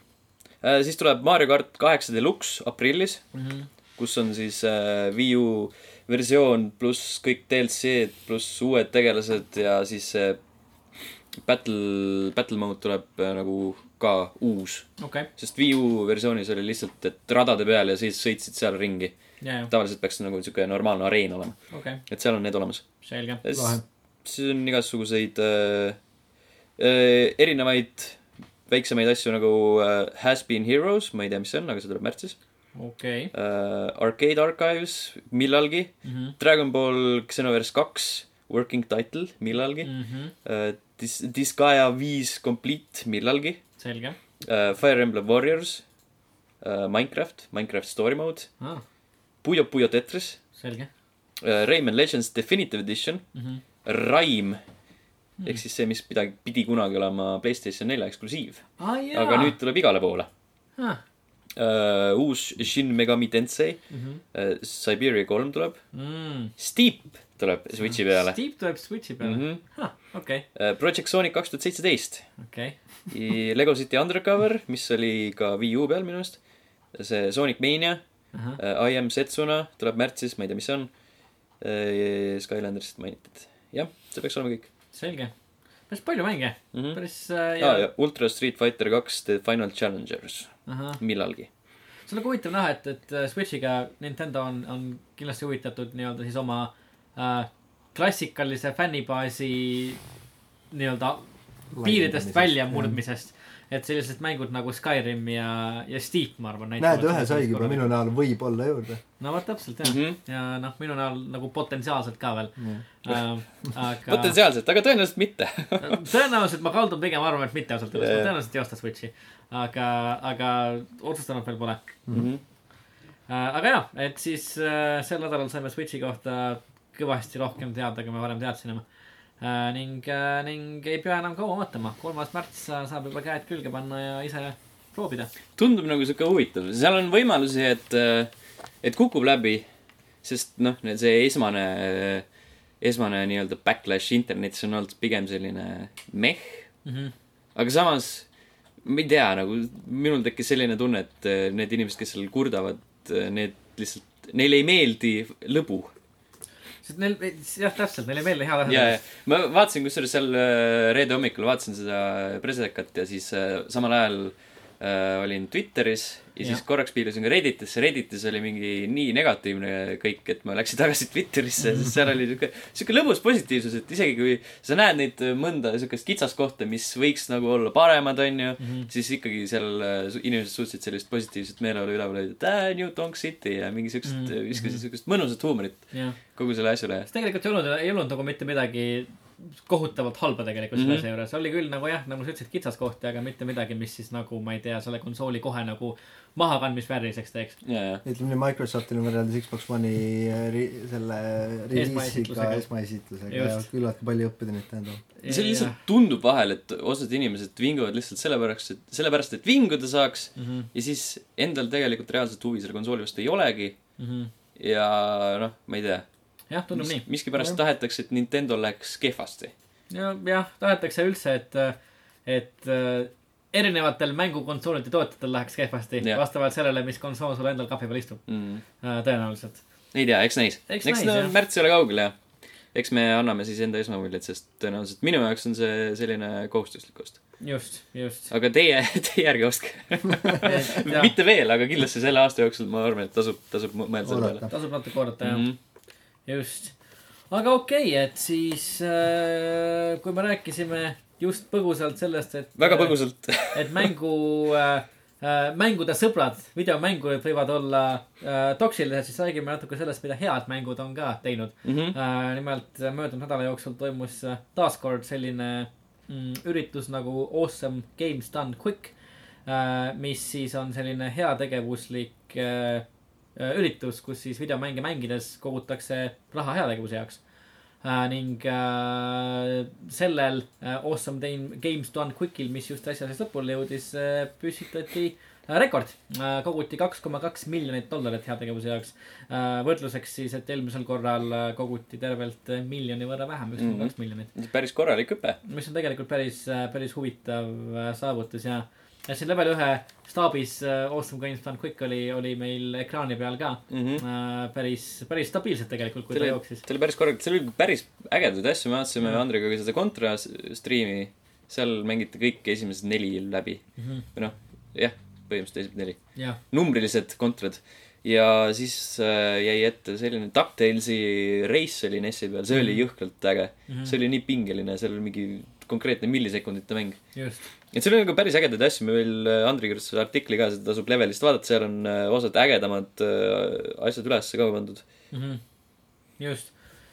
[SPEAKER 1] Äh, siis tuleb Mario kart kaheksa deluxe aprillis ,
[SPEAKER 2] mm . -hmm.
[SPEAKER 1] kus on siis äh, Wii U versioon pluss kõik DLC-d pluss uued tegelased ja siis see battle , battle mode tuleb äh, nagu ka uus .
[SPEAKER 2] okei okay. ,
[SPEAKER 1] sest Wii U versioonis oli lihtsalt , et radade peal ja siis sõitsid seal ringi .
[SPEAKER 2] ja , ja ,
[SPEAKER 1] tavaliselt peaks nagu niisugune normaalne areen olema ,
[SPEAKER 2] okei okay. ,
[SPEAKER 1] et seal on need olemas .
[SPEAKER 2] selge .
[SPEAKER 3] Lahe.
[SPEAKER 1] siis on igasuguseid äh, äh, erinevaid väiksemaid asju nagu äh, Has Been Heroes , ma ei tea , mis see on , aga see tuleb märtsis .
[SPEAKER 2] okei okay.
[SPEAKER 1] äh, Arcade Archives millalgi ,
[SPEAKER 2] mm -hmm.
[SPEAKER 1] Dragon Ball Xenoverse kaks working title millalgi mm.
[SPEAKER 2] mm -hmm.
[SPEAKER 1] äh, Dis- , Disgaea viis complete millalgi
[SPEAKER 2] selge
[SPEAKER 1] äh, , Fire Emblem Warriors äh, , Minecraft , Minecraft story mode
[SPEAKER 2] ah. .
[SPEAKER 1] Puyo Puyo Tetris ,
[SPEAKER 2] selge
[SPEAKER 1] Rayman Legends Definitive Edition ,
[SPEAKER 2] mm . -hmm.
[SPEAKER 1] Rime ehk siis see , mis pidagi , pidi kunagi olema Playstation nelja eksklusiiv ,
[SPEAKER 2] Ah, jaa.
[SPEAKER 1] aga nüüd tuleb igale poole .
[SPEAKER 2] ah,
[SPEAKER 1] uus Shin Megami Tensei
[SPEAKER 2] mm . -hmm.
[SPEAKER 1] uh, , Siberia kolm tuleb ,
[SPEAKER 2] Mm.
[SPEAKER 1] Steep tuleb Switchi peale .
[SPEAKER 2] Steep tuleb Switchi peale mm .
[SPEAKER 1] Mm
[SPEAKER 2] -hmm. okei ,
[SPEAKER 1] -hmm. Project Sonic kaks tuhat seitseteist ,
[SPEAKER 2] okei .
[SPEAKER 1] (laughs) Lego City Undercover , mis oli ka Wii U peal minu arust , see Sonic Mania uh, , I am Setsuna tuleb märtsis , ma ei tea , mis see on uh, . Skylandersit mainiti , jah , see peaks olema kõik
[SPEAKER 2] selge . päris palju mänge ,
[SPEAKER 1] mm . -hmm.
[SPEAKER 2] päris äh,
[SPEAKER 1] Ah, ja Ultra Street Fighter kaks The Final Challengers ,
[SPEAKER 2] ahah ,
[SPEAKER 1] millalgi .
[SPEAKER 2] see on nagu huvitav näha , et , et äh, Switchiga Nintendo on , on kindlasti huvitatud nii-öelda siis oma äh, klassikalise fännibaasi nii-öelda piiridest välja . murdmisest . et sellised mängud nagu Skyrim ja , ja Steep , ma arvan .
[SPEAKER 3] näed , ühe saigi juba minu näol võib-olla juurde .
[SPEAKER 2] no vot , täpselt jah mm .
[SPEAKER 1] Mhm.
[SPEAKER 2] -hmm. ja noh , minu näol nagu potentsiaalselt ka veel äh, . aga
[SPEAKER 1] potentsiaalselt , aga tõenäoliselt mitte .
[SPEAKER 2] tõenäoliselt ma kaldun pigem arvama , et mitte ausalt öeldes ,
[SPEAKER 1] Jajah.
[SPEAKER 2] ma tõenäoliselt ei osta Switchi . aga , aga otsustanud veel pole . Äh, aga jaa , et siis äh, sel nädalal saime Switchi kohta kõvasti rohkem teada , kui me varem teadsime . Äh, ning äh, , ning ei pea enam kaua ootama , kolmas märts äh, saab juba käed külge panna ja ise proovida .
[SPEAKER 1] tundub nagu sihuke huvitav , seal on võimalusi , et , et kukub läbi , sest noh , see esmane , esmane nii-öelda backlash internetis on olnud pigem selline meh , aga samas ma ei tea , nagu minul tekkis selline tunne , et eh, need inimesed , kes seal kurdavad , need lihtsalt , neile ei meeldi lõbu
[SPEAKER 2] sest neil , jah , täpselt , neile ei meeldi
[SPEAKER 1] ja ,
[SPEAKER 2] head
[SPEAKER 1] ja
[SPEAKER 2] asjad .
[SPEAKER 1] ma vaatasin kusjuures seal äh, reede hommikul vaatasin seda presekat ja siis äh, samal ajal äh, olin Twitteris ja siis
[SPEAKER 2] Jah.
[SPEAKER 1] korraks piilusin ka Redditisse . Redditis oli mingi nii negatiivne kõik , et ma läksin (laughs) tagasi Twitterisse , sest seal oli sihuke , sihuke lõbus positiivsus , et isegi kui sa näed neid äh, mõnda siukest kitsaskohta , mis võiks nagu olla paremad , onju mm ,
[SPEAKER 2] Mhm.
[SPEAKER 1] -hmm. siis ikkagi seal äh, su- inimesed suutsid sellist positiivset meeleolu üleval hoida , et äh, New Donk City ja mingi siukest mm
[SPEAKER 2] Mhm.
[SPEAKER 1] -hmm. , viskasid siukest mõnusat huumorit
[SPEAKER 2] jah ,
[SPEAKER 1] kogu selle asjale
[SPEAKER 2] sest tegelikult ei olnud , ei olnud nagu mitte midagi kohutavalt halba tegelikult
[SPEAKER 1] Mhm.
[SPEAKER 2] selle asja mm -hmm. juures , oli küll nagu jah , nagu sa ütlesid , kitsaskohti , aga mitte midagi , mis siis nagu ma ei tea , selle konsooli kohe nagu mahakandmisvääriliseks teeks .
[SPEAKER 1] ja , ja
[SPEAKER 3] ütleme nii , Microsoftil on võrreldes Xbox One'i äh, ri- , selle reliisiga
[SPEAKER 2] Esmaesitlusega. ,
[SPEAKER 3] esmaesitlusega ja
[SPEAKER 2] Just.
[SPEAKER 3] küllaltki palju õppida Nintendo .
[SPEAKER 1] Ja see lihtsalt . tundub vahel , et osad inimesed vinguvad lihtsalt sellepärast , et , sellepärast , et vinguda saaks
[SPEAKER 2] Mhm.
[SPEAKER 1] ja siis endal tegelikult reaalset huvi selle konsooli vastu ei olegi ja noh , ma ei tea .
[SPEAKER 2] Mhm. jah , tundub nii .
[SPEAKER 1] miskipärast
[SPEAKER 3] Jah.
[SPEAKER 1] tahetakse , et Nintendo läheks kehvasti .
[SPEAKER 2] ja , jah , tahetakse üldse , et , et äh, erinevatel mängukonsoolide tootjatel läheks kehvasti
[SPEAKER 1] Jah.
[SPEAKER 2] vastavalt sellele , mis konsool sul endal kapi peal istub
[SPEAKER 1] mm. .
[SPEAKER 2] äh, tõenäoliselt .
[SPEAKER 1] ei tea , eks näis .
[SPEAKER 2] Eks
[SPEAKER 1] eks,
[SPEAKER 2] näis,
[SPEAKER 1] eks no,
[SPEAKER 2] jah.
[SPEAKER 1] märts ei ole kaugel ja eks me anname siis enda esmamuljed , sest tõenäoliselt minu jaoks on see selline kohustuslik ost .
[SPEAKER 2] just ,
[SPEAKER 1] (laughs)
[SPEAKER 2] just .
[SPEAKER 1] aga teie , teie ärge ostke . mitte veel , aga kindlasti selle aasta jooksul ma arvan , et tasub , tasub mõ- mõelda selle peale
[SPEAKER 3] oodata .
[SPEAKER 2] tasub natuke oodata , jah .
[SPEAKER 1] Mhm.
[SPEAKER 2] just , aga okei okay, , et siis äh, kui me rääkisime just põgusalt sellest , et
[SPEAKER 1] väga . põgusalt
[SPEAKER 2] (laughs) et mängu äh, , äh, mängude sõbrad , videomängud võivad olla äh, toksilised , siis räägime natuke sellest , mida head mängud on ka teinud
[SPEAKER 1] mm . -hmm.
[SPEAKER 2] äh, . nimelt äh, möödunud nädala jooksul toimus äh, taaskord selline mm, üritus nagu Awesome Games Done Quick äh, , mis siis on selline heategevuslik äh, äh, üritus , kus siis videomänge mängides kogutakse raha heategevuse jaoks . Äh, ning äh, sellel äh, Awesome Game- Games Done Quickil , mis just äsja siis lõpule jõudis äh, , püstitati äh, rekord äh, . koguti kaks koma kaks miljonit dollarit heategevuse jaoks äh, . võrdluseks siis , et eelmisel korral äh, koguti tervelt äh, miljoni võrra vähem , üks koma kaks miljonit .
[SPEAKER 1] päris korralik hüpe
[SPEAKER 2] mis on tegelikult päris , päris huvitav äh, saavutus ja , ja siin level ühe staabis äh, Awesome Games Done Quick oli , oli meil ekraani peal ka
[SPEAKER 1] mm . -hmm.
[SPEAKER 2] äh, päris , päris stabiilselt tegelikult , kui
[SPEAKER 1] see
[SPEAKER 2] ta
[SPEAKER 1] oli ,
[SPEAKER 2] jooksis .
[SPEAKER 1] see oli päris korralik , seal oli päris ägedaid asju , me vaatasime Andrega ka seda kontra s- striimi , seal mängiti kõik esimesed neli läbi .
[SPEAKER 2] Mhm.
[SPEAKER 1] või noh , jah , põhimõtteliselt esimesed neli ,
[SPEAKER 2] jah ,
[SPEAKER 1] numbrilised kontrad . ja siis äh, jäi ette selline DuckTalesi reis oli NES-i peal , see
[SPEAKER 2] Mhm.
[SPEAKER 1] oli jõhkralt äge . see oli nii pingeline , seal oli mingi konkreetne millisekundite mäng .
[SPEAKER 2] just ,
[SPEAKER 1] et seal oli nagu päris ägedaid asju , me veel äh, Andri kirjutas artikli ka , seda tasub levelist vaadata , seal on äh, osad ägedamad äh, asjad ülesse ka pandud .
[SPEAKER 2] Mhm. just .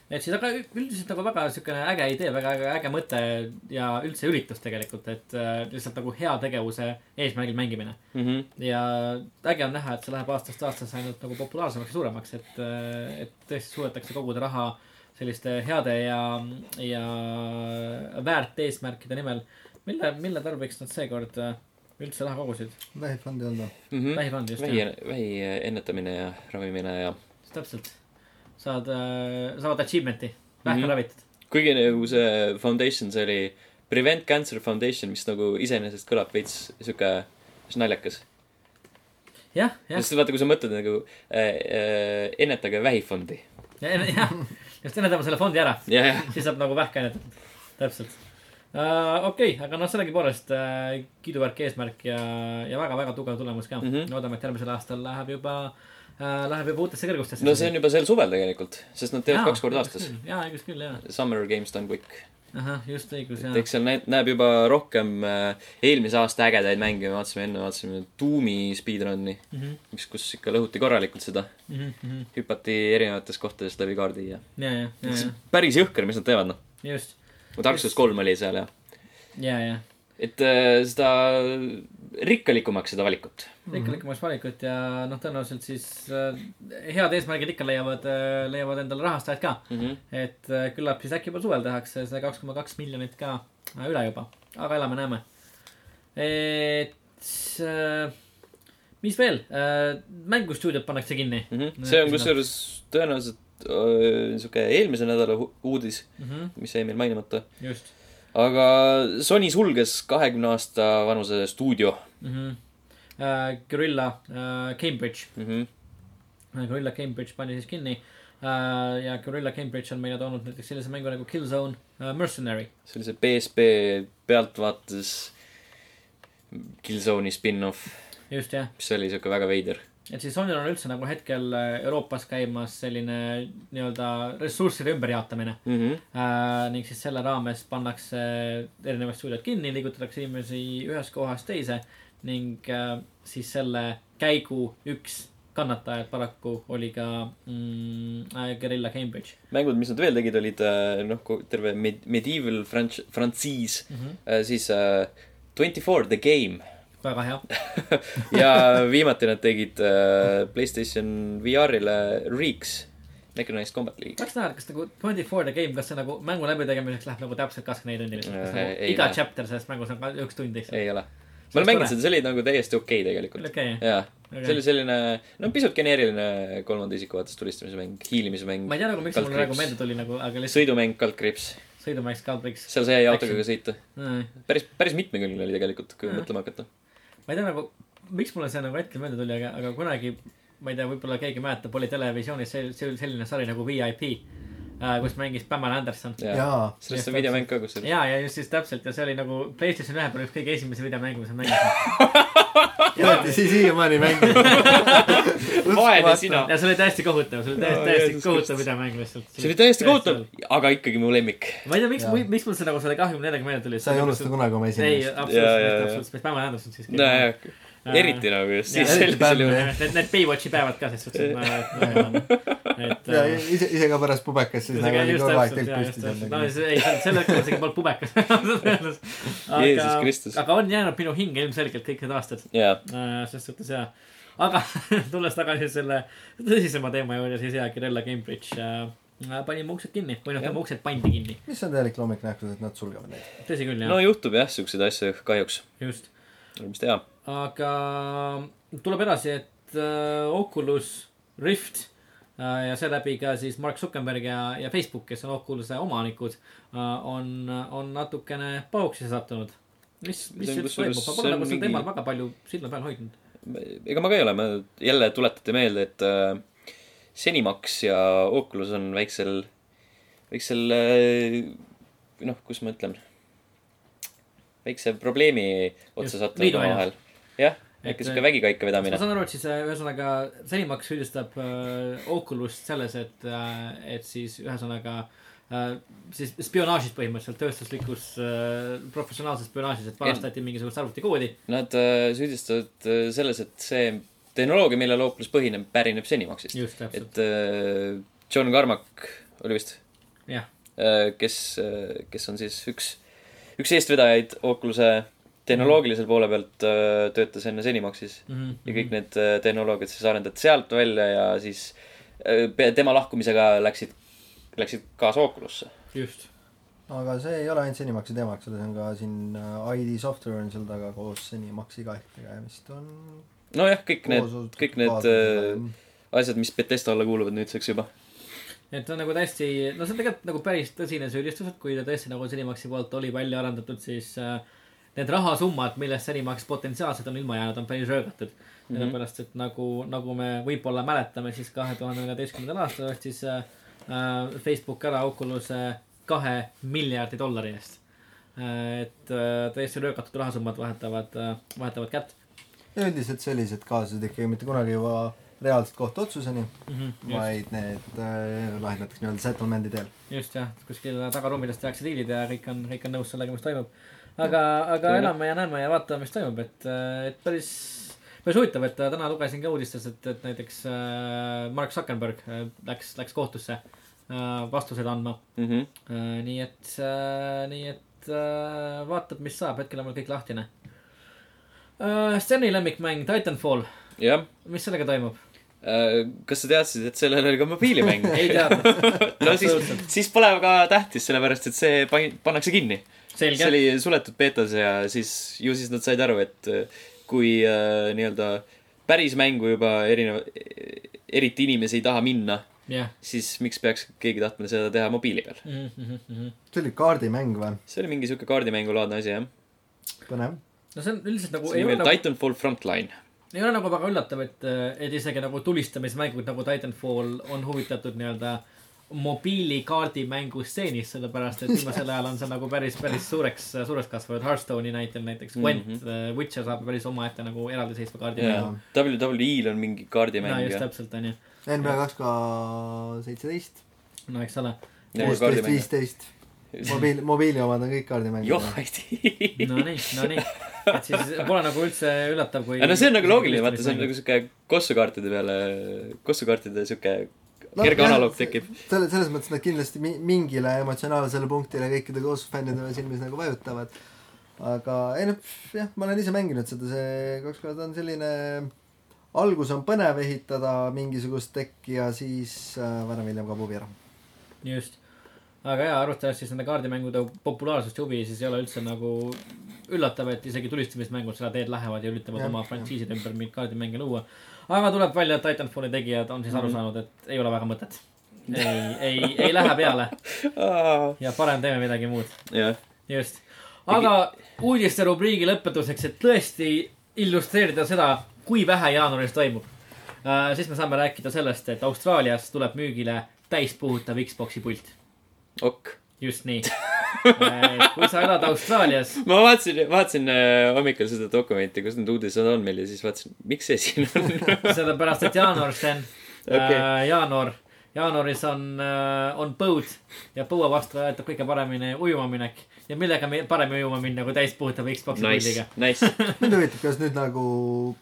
[SPEAKER 2] et siis aga üldiselt nagu väga siukene äge idee , väga äge, äge mõte ja üldse üritus tegelikult , et äh, lihtsalt nagu heategevuse eesmärgil mängimine .
[SPEAKER 1] mm . -hmm.
[SPEAKER 2] ja äge on näha , et see läheb aastast aastasse ainult nagu populaarsemaks ja suuremaks , et , et tõesti suudetakse koguda raha selliste heade ja , ja väärt eesmärkide nimel . mille , mille tarbeks nad seekord äh, üldse raha kogusid ?
[SPEAKER 3] vähifondi on
[SPEAKER 2] (laughs)
[SPEAKER 3] ta .
[SPEAKER 1] Mm -hmm.
[SPEAKER 2] vähifond just
[SPEAKER 1] vähi
[SPEAKER 2] jah ,,
[SPEAKER 1] vähi äh, ennetamine ja ravimine ja
[SPEAKER 2] täpselt . saad , saavad achievement'i , vähki
[SPEAKER 1] Mhm.
[SPEAKER 2] ravitud .
[SPEAKER 1] kuigi nagu see foundation , see oli Prevent Cancer Foundation , mis nagu iseenesest kõlab veits sihuke , mis naljakas .
[SPEAKER 2] jah , jah .
[SPEAKER 1] sest vaata , kui sa mõtled nagu äh, äh, ennetage vähifondi .
[SPEAKER 2] ja , ja , ja , just enne teeme selle fondi ära ,
[SPEAKER 1] jah , jah .
[SPEAKER 2] siis saab nagu vähk ainet . täpselt uh, . okei okay, , aga noh , sellegipoolest uh, kiiduväärt eesmärk ja , ja väga-väga tugev tulemus ka mm .
[SPEAKER 1] Mhm.
[SPEAKER 2] -hmm. loodame , et järgmisel aastal läheb juba uh, , läheb juba uutesse kõrgustesse .
[SPEAKER 1] no see on juba sel suvel tegelikult , sest nad teevad kaks korda aastas ..
[SPEAKER 2] jaa , õigus küll , jaa .
[SPEAKER 1] Summer Games Done Quick .
[SPEAKER 2] ahah , just õigus ,
[SPEAKER 1] et
[SPEAKER 2] jaa .
[SPEAKER 1] eks seal näeb , näeb juba rohkem äh, eelmise aasta ägedaid mänge , me vaatasime enne , vaatasime Doomi speedrun'i ,
[SPEAKER 2] Mhm,
[SPEAKER 1] mis , kus ikka lõhuti korralikult seda ,
[SPEAKER 2] ja ,
[SPEAKER 1] hüpati erinevatest kohtadest läbi kaardi ja
[SPEAKER 2] ja , ja ,
[SPEAKER 1] see on päris jõhker , mis nad teevad , noh .
[SPEAKER 2] ja , just .
[SPEAKER 1] Dark Souls kolm oli seal ja ,
[SPEAKER 2] ja , ja .
[SPEAKER 1] et äh, seda rikkalikumaks seda valikut .
[SPEAKER 2] rikkalikumaks valikut ja noh , tõenäoliselt siis uh, head eesmärgid ikka leiavad uh, , leiavad endale rahastajad ka
[SPEAKER 1] Mm -hmm.
[SPEAKER 2] et äh, küllap siis äkki juba suvel tehakse see kaks koma kaks miljonit ka äh, üle juba , aga elame-näeme . et äh, mis veel , mängustuudiod pannakse kinni
[SPEAKER 1] Mm -hmm.
[SPEAKER 2] No,
[SPEAKER 1] see on
[SPEAKER 2] sinna-
[SPEAKER 1] kusjuures tõenäoliselt öö, sihuke eelmise nädala hu- uudis ,
[SPEAKER 2] mm . -hmm.
[SPEAKER 1] mis jäi meil mainimata .
[SPEAKER 2] just
[SPEAKER 1] aga Sony sulges kahekümne aasta vanuse stuudio
[SPEAKER 2] mm . -hmm. Gorilla äh, Cambridge ,
[SPEAKER 1] mm . -hmm.
[SPEAKER 2] Gorilla Cambridge pani siis kinni äh, ja Gorilla Cambridge on meile toonud näiteks sellise mängu nagu Killzone äh, Mercenary .
[SPEAKER 1] sellise PSP pealtvaates Killzone'i spin-off ,
[SPEAKER 2] just jah ,
[SPEAKER 1] mis oli sihuke väga veider .
[SPEAKER 2] et siis Sonyl on üldse nagu hetkel äh, Euroopas käimas selline äh, nii-öelda ressursside ümberjaotamine .
[SPEAKER 1] Mm -hmm.
[SPEAKER 2] Äh, ning siis selle raames pannakse erinevad stuudiod kinni , liigutatakse inimesi ühest kohast teise ning äh, siis selle käigu üks kannatajaid paraku oli ka mm, äh, Guerilla Cambridge
[SPEAKER 1] mängud , mis nad veel tegid , olid äh, noh , terve med- , medieval franch- , frantsiis
[SPEAKER 2] mm . -hmm.
[SPEAKER 1] äh, , siis Twenty Four The Game (laughs)
[SPEAKER 2] väga hea ,
[SPEAKER 1] ja viimati nad tegid äh, Playstation VR-ile Reeks , Mechanized Combat League .
[SPEAKER 2] tahaks näha , et kas nagu Twenty Four The Game , kas see nagu mängu läbitegemiseks läheb nagu täpselt kakskümmend neli tundi lihtsalt ,
[SPEAKER 1] Äh,
[SPEAKER 2] kas nagu
[SPEAKER 1] ei
[SPEAKER 2] iga
[SPEAKER 1] lähe.
[SPEAKER 2] chapter selles mängus on ka üks tund lihtsalt .
[SPEAKER 1] ei ole .
[SPEAKER 2] See
[SPEAKER 1] ma
[SPEAKER 2] oleks
[SPEAKER 1] olen mänginud
[SPEAKER 2] tore.
[SPEAKER 1] seda , see oli nagu täiesti okei okay tegelikult .
[SPEAKER 2] okei ,
[SPEAKER 1] jaa ,
[SPEAKER 2] Okei.
[SPEAKER 1] see oli selline , no pisut geneeriline kolmanda isiku vaates tulistamise mäng , hiilimise mäng
[SPEAKER 2] ma , ei tea nagu , miks see mulle
[SPEAKER 1] Kaldkriips.
[SPEAKER 2] nagu meelde tuli nagu , aga lihtsalt
[SPEAKER 1] sõidumäng , kaldkriips ,
[SPEAKER 2] sõidumäng Scalbriks .
[SPEAKER 1] seal sai autoga
[SPEAKER 2] Action.
[SPEAKER 1] ka sõita .
[SPEAKER 2] Mm.
[SPEAKER 1] päris , päris mitmekülgne oli tegelikult , kui
[SPEAKER 2] Mhm.
[SPEAKER 1] mõtlema hakata .
[SPEAKER 2] ma ei tea nagu , miks mulle see nagu hetkel meelde tuli , aga , aga kunagi , ma ei tea , võib-olla keegi mäletab , oli televisioonis see , see oli selline sari nagu VIP , äh, kus mängis Pamela Anderson .
[SPEAKER 1] jaa ,
[SPEAKER 3] jaa .
[SPEAKER 1] sellest
[SPEAKER 2] Jah,
[SPEAKER 1] on videomäng ka , kus
[SPEAKER 2] ja , ja just siis täpselt ja see oli nagu Playstation ühe peal üks kõige esimesi videomänge , mis ma mängisin .
[SPEAKER 3] jäeti siis siiamaani
[SPEAKER 2] (laughs)
[SPEAKER 3] mängima .
[SPEAKER 1] vaene sina .
[SPEAKER 2] ja see oli täiesti kohutav , see oli
[SPEAKER 1] Jaa,
[SPEAKER 2] täiesti , täiesti
[SPEAKER 1] Jeesus
[SPEAKER 2] kohutav
[SPEAKER 1] Kristus.
[SPEAKER 2] videomäng lihtsalt .
[SPEAKER 1] see oli täiesti kohutav , aga ikkagi mu lemmik .
[SPEAKER 2] ma ei tea , miks
[SPEAKER 3] Jaa. ,
[SPEAKER 2] miks mul see nagu selle kahjum nendega meelde tuli .
[SPEAKER 3] sa ei unusta kunagi oma
[SPEAKER 2] ei ,
[SPEAKER 3] esimest .
[SPEAKER 1] Jaa, jaa,
[SPEAKER 2] absoluutselt ,
[SPEAKER 1] jaa.
[SPEAKER 2] absoluutselt , mis Pamela Anderson siis .
[SPEAKER 1] nojah , eriti nagu just siis
[SPEAKER 2] Jaa, eriti
[SPEAKER 1] sellisel juhul .
[SPEAKER 3] jah.
[SPEAKER 2] Need , need Baywatchi päevad ka selles suhtes , et . äh,
[SPEAKER 3] ja ise , ise ka pärast pubekas siis nagu oli kogu aeg telk püsti
[SPEAKER 2] no
[SPEAKER 3] seal .
[SPEAKER 2] see , ei , selle hetkel ma isegi polnud pubekas .
[SPEAKER 1] Jeesus Kristus.
[SPEAKER 2] aga on jäänud minu hinge ilmselgelt kõik need aastad ,
[SPEAKER 1] jaa ,
[SPEAKER 2] selles suhtes jaa . aga (laughs) tulles tagasi selle tõsisema teema juurde , siis jaa , Kirella Cambridge äh, panime uksed kinni või noh ,
[SPEAKER 1] Jah.
[SPEAKER 2] tema uksed pandi kinni ,
[SPEAKER 3] mis on täielik loomik nähtus , et nad sulgevad neid .
[SPEAKER 2] tõsi küll
[SPEAKER 1] no
[SPEAKER 2] jah ,
[SPEAKER 1] juhtub jah , siukseid asju kahjuks ,
[SPEAKER 2] just ,
[SPEAKER 1] mis teha .
[SPEAKER 2] aga tuleb edasi , et äh, Oculus Rift äh, ja seeläbi ka siis Mark Zuckerberg ja , ja Facebook , kes on Oculus'e omanikud , on , on natukene pauksisse sattunud . mis , mis
[SPEAKER 1] See on
[SPEAKER 2] üldse
[SPEAKER 1] kusjuures-
[SPEAKER 2] toimub , ma pole
[SPEAKER 1] see on
[SPEAKER 2] nagu sel
[SPEAKER 1] mingi-
[SPEAKER 2] teemal väga palju silma peal hoidnud .
[SPEAKER 1] ega ma ka ei ole , ma jälle tuletate meelde , et äh, Senimax ja Oculus on väiksel , väiksel äh, noh , kuidas ma ütlen , väikse probleemi otsa
[SPEAKER 2] Just,
[SPEAKER 1] sattunud
[SPEAKER 2] liidu
[SPEAKER 1] omavahel . jah ,
[SPEAKER 2] Et,
[SPEAKER 1] ikka sihuke vägikaika
[SPEAKER 2] ma
[SPEAKER 1] vedamine .
[SPEAKER 2] saan aru , et siis äh, ühesõnaga Senimax süüdistab äh, Oculust selles , et , et siis ühesõnaga äh, siis spionaažis põhimõtteliselt , tööstuslikus äh, professionaalses spionaažis , et varastati mingisugust arvutikoodi .
[SPEAKER 1] Nad äh, süüdistavad äh, selles , et see tehnoloogia , millel Oculus põhineb , pärineb Senimaxist .
[SPEAKER 2] just täpselt .
[SPEAKER 1] et äh, John Carmack oli vist äh,
[SPEAKER 2] jah ,
[SPEAKER 1] kes , kes on siis üks , üks eestvedajaid Oculus'e tehnoloogilisel poole pealt , töötas enne Zenimaxis
[SPEAKER 2] Mhm.
[SPEAKER 1] ja kõik need äh, tehnoloogiad siis arendati sealt välja ja siis äh, pe- tema lahkumisega läksid , läksid kaasa Oculusse .
[SPEAKER 2] just .
[SPEAKER 3] aga see ei ole ainult Cinemaxi teema , eks ole , see on ka siin äh, ID Software on seal taga koos Cinemaxiga ehk ja vist on
[SPEAKER 1] nojah , kõik need
[SPEAKER 3] koos-
[SPEAKER 1] kõik need, äh, asjad , mis Betesta alla kuuluvad nüüdseks juba .
[SPEAKER 2] et ta on nagu täiesti , no see on tegelikult nagu päris tõsine süüdistus , et kui ta tõesti nagu Cinemaxi poolt oli välja arendatud , siis äh, need rahasummad , millest Cinemax potentsiaalselt on ilma jäänud , on päris röögatud . sellepärast , et nagu , nagu me võib-olla mäletame , siis kahe tuhande neljateistkümnendal aastal ostis äh, äh, Facebook ära Oculus'e kahe miljardi dollari eest . et äh, täiesti röögatud rahasummad vahetavad äh, , vahetavad kätt
[SPEAKER 3] üldiselt sellised kaasused ikkagi mitte kunagi juba reaalselt kohtuotsuseni ,
[SPEAKER 2] mm .
[SPEAKER 3] vaid need äh, lahendatakse nii-öelda settlement'i teel .
[SPEAKER 2] just jah , kuskil tagaruumides tehakse diilid ja kõik on , kõik on nõus sellega , mis toimub . aga , aga
[SPEAKER 1] Jah.
[SPEAKER 2] elame ja näeme ja vaatame , mis toimub , et , et päris , päris huvitav , et äh, täna lugesin ka uudistes , et , et näiteks äh, Mark Zuckerberg äh, läks , läks kohtusse äh, vastuseid andma
[SPEAKER 1] Mhm.
[SPEAKER 2] äh, . nii et äh, , nii et äh, vaatab , mis saab , hetkel on mul kõik lahtine äh, . Steni lemmikmäng Titanfall ,
[SPEAKER 1] jah ,
[SPEAKER 2] mis sellega toimub ?
[SPEAKER 1] Äh, kas sa teadsid , et sellel oli ka mobiilimäng ?
[SPEAKER 2] (laughs) ei teadnud ,
[SPEAKER 1] (laughs) no siis , siis pole ka tähtis , sellepärast et see pan- , pannakse kinni . see
[SPEAKER 2] selge .
[SPEAKER 1] oli suletud beetas ja siis ju siis nad said aru , et äh, kui äh, nii-öelda päris mängu juba erineva , eriti inimesi ei taha minna ,
[SPEAKER 2] jah . Mhm,
[SPEAKER 1] siis miks peaks keegi tahtma seda teha mobiili peal ?
[SPEAKER 3] see oli kaardimäng või ?
[SPEAKER 1] see oli mingi sihuke kaardimängulaadne asi , jah .
[SPEAKER 3] põnev .
[SPEAKER 2] no see on üldiselt nagu .
[SPEAKER 1] see nimi oli Titanfall Frontline .
[SPEAKER 2] ei ole nagu väga üllatav , et , et isegi nagu tulistamismängud nagu Titanfall on huvitatud nii-öelda mobiilikaardimängu stseenis , sellepärast et viimasel ajal on see nagu päris , päris suureks , suureks kasvanud . Hearthstone'i näitel näiteks Gwent mm , -hmm. Witcher saab päris omaette nagu eraldiseisva kaardimäng .
[SPEAKER 1] Mhm. jaa , WWE-l on mingi
[SPEAKER 2] no
[SPEAKER 1] kaardimäng
[SPEAKER 2] just
[SPEAKER 1] ja .
[SPEAKER 2] täpselt onju ,
[SPEAKER 3] NBA kaks ka seitseteist ,
[SPEAKER 2] no eks
[SPEAKER 1] (laughs)
[SPEAKER 2] ole ,
[SPEAKER 3] kuusteist , viisteist . mobiil , mobiili omad on kõik kaardimängud .
[SPEAKER 1] joh , ei tea .
[SPEAKER 2] no nii , no nii , et siis pole nagu üldse üllatav , kui .
[SPEAKER 1] aga no see on nagu loogiline , vaata , see on nagu sihuke kossukaartide peale , kossukaartide sihuke kerge analoog tekib ..
[SPEAKER 3] selle , selles mõttes nad kindlasti mi- mingile emotsionaalsele punktile kõikide koos fännide silmis nagu vajutavad . aga ei noh , jah , ma olen ise mänginud seda , see kaks korda on selline , algus on põnev ehitada mingisugust tekki ja siis äh, varem või hiljem kaob huvi ära .
[SPEAKER 2] just , aga jaa , arvestades siis nende kaardimängude populaarsust ja huvi , siis ei ole üldse nagu üllatav , et isegi tulistamismängud seda teed lähevad ja üritavad
[SPEAKER 3] Jah,
[SPEAKER 2] ja, oma
[SPEAKER 3] jah.
[SPEAKER 2] frantsiiside ümber mingeid kaardimänge luua . aga tuleb välja , et Titanfalli tegijad on siis
[SPEAKER 3] Mhm.
[SPEAKER 2] aru saanud , et ei ole väga mõtet . ei , ei , ei lähe peale ja parem teeme midagi muud ,
[SPEAKER 1] jah ,
[SPEAKER 2] just . aga uudiste rubriigi lõpetuseks , et tõesti illustreerida seda , kui vähe jaanuaris toimub , siis me saame rääkida sellest , et Austraalias tuleb müügile täispuhutav Xbox'i pult
[SPEAKER 1] ok .
[SPEAKER 2] just nii . kui sa elad Austraalias ,
[SPEAKER 1] ma vaatasin , vaatasin äh, hommikul seda dokumenti , kus need uudised on meil ja siis vaatasin , miks see siin on .
[SPEAKER 2] sellepärast et jaanuar , Sten
[SPEAKER 1] Okei.
[SPEAKER 2] okay. , jaanuar , jaanuaris on , on põud ja põua vastu aetab kõige paremini ujuma minek ja millega me parem ujuma minna kui täispuhutava Xbox'i
[SPEAKER 1] Nice
[SPEAKER 2] pildiga ,.
[SPEAKER 1] nice .
[SPEAKER 3] mind huvitab , kas nüüd nagu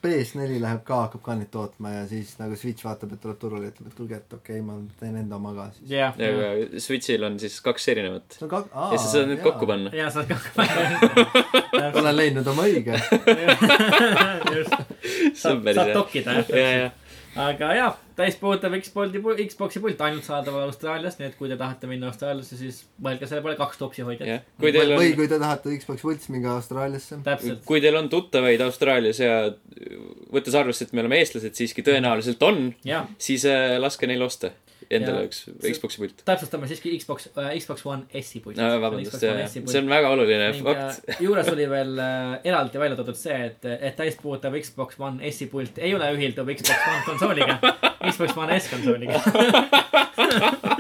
[SPEAKER 3] PS4 läheb ka , hakkab ka neid tootma ja siis nagu Switch vaatab , et tuleb turule ja ütleb , et tulge , et okei okay, , ma teen enda oma ka siis .
[SPEAKER 2] jah , ja
[SPEAKER 1] Nagu, Switch'il on siis kaks erinevat
[SPEAKER 3] see on kak- , aa .
[SPEAKER 1] ja sa saad need kokku . panna .
[SPEAKER 2] ja sa oled (laughs) ka
[SPEAKER 3] olen leidnud oma
[SPEAKER 1] (laughs)
[SPEAKER 3] õige .
[SPEAKER 1] on
[SPEAKER 2] saad ,
[SPEAKER 1] päris
[SPEAKER 2] saad
[SPEAKER 1] hea.
[SPEAKER 2] dokida jah
[SPEAKER 1] ja , ja ,
[SPEAKER 2] aga jaa , täispuhutav Xbox'i , Xbox'i pult ainult saadaval Austraalias , nii et kui te tahate minna Austraaliasse , siis mõelge selle peale kaks topsi hoidjat .
[SPEAKER 1] jah . kui teil
[SPEAKER 3] või
[SPEAKER 1] on ,
[SPEAKER 3] kui te tahate Xbox Võltsmiga Austraaliasse .
[SPEAKER 2] täpselt .
[SPEAKER 1] kui teil on tuttavaid Austraalias ja võttes arvesse , et me oleme eestlased , siiski tõenäoliselt on ,
[SPEAKER 2] jah ,
[SPEAKER 1] siis äh, laske neil osta endale
[SPEAKER 2] Jaa.
[SPEAKER 1] üks Xbox'i pult .
[SPEAKER 2] täpsustame siiski Xbox äh, , Xbox One S-i puit
[SPEAKER 1] no, . vabandust , jah , see on väga oluline
[SPEAKER 2] äh,
[SPEAKER 1] (laughs) fakt .
[SPEAKER 2] juures oli veel äh, eraldi välja toodud see , et , et täispuhutav Xbox One S-i pult ei ole ühilduv Xbox One
[SPEAKER 1] (laughs)
[SPEAKER 2] konsooliga , Xbox One S konsooliga .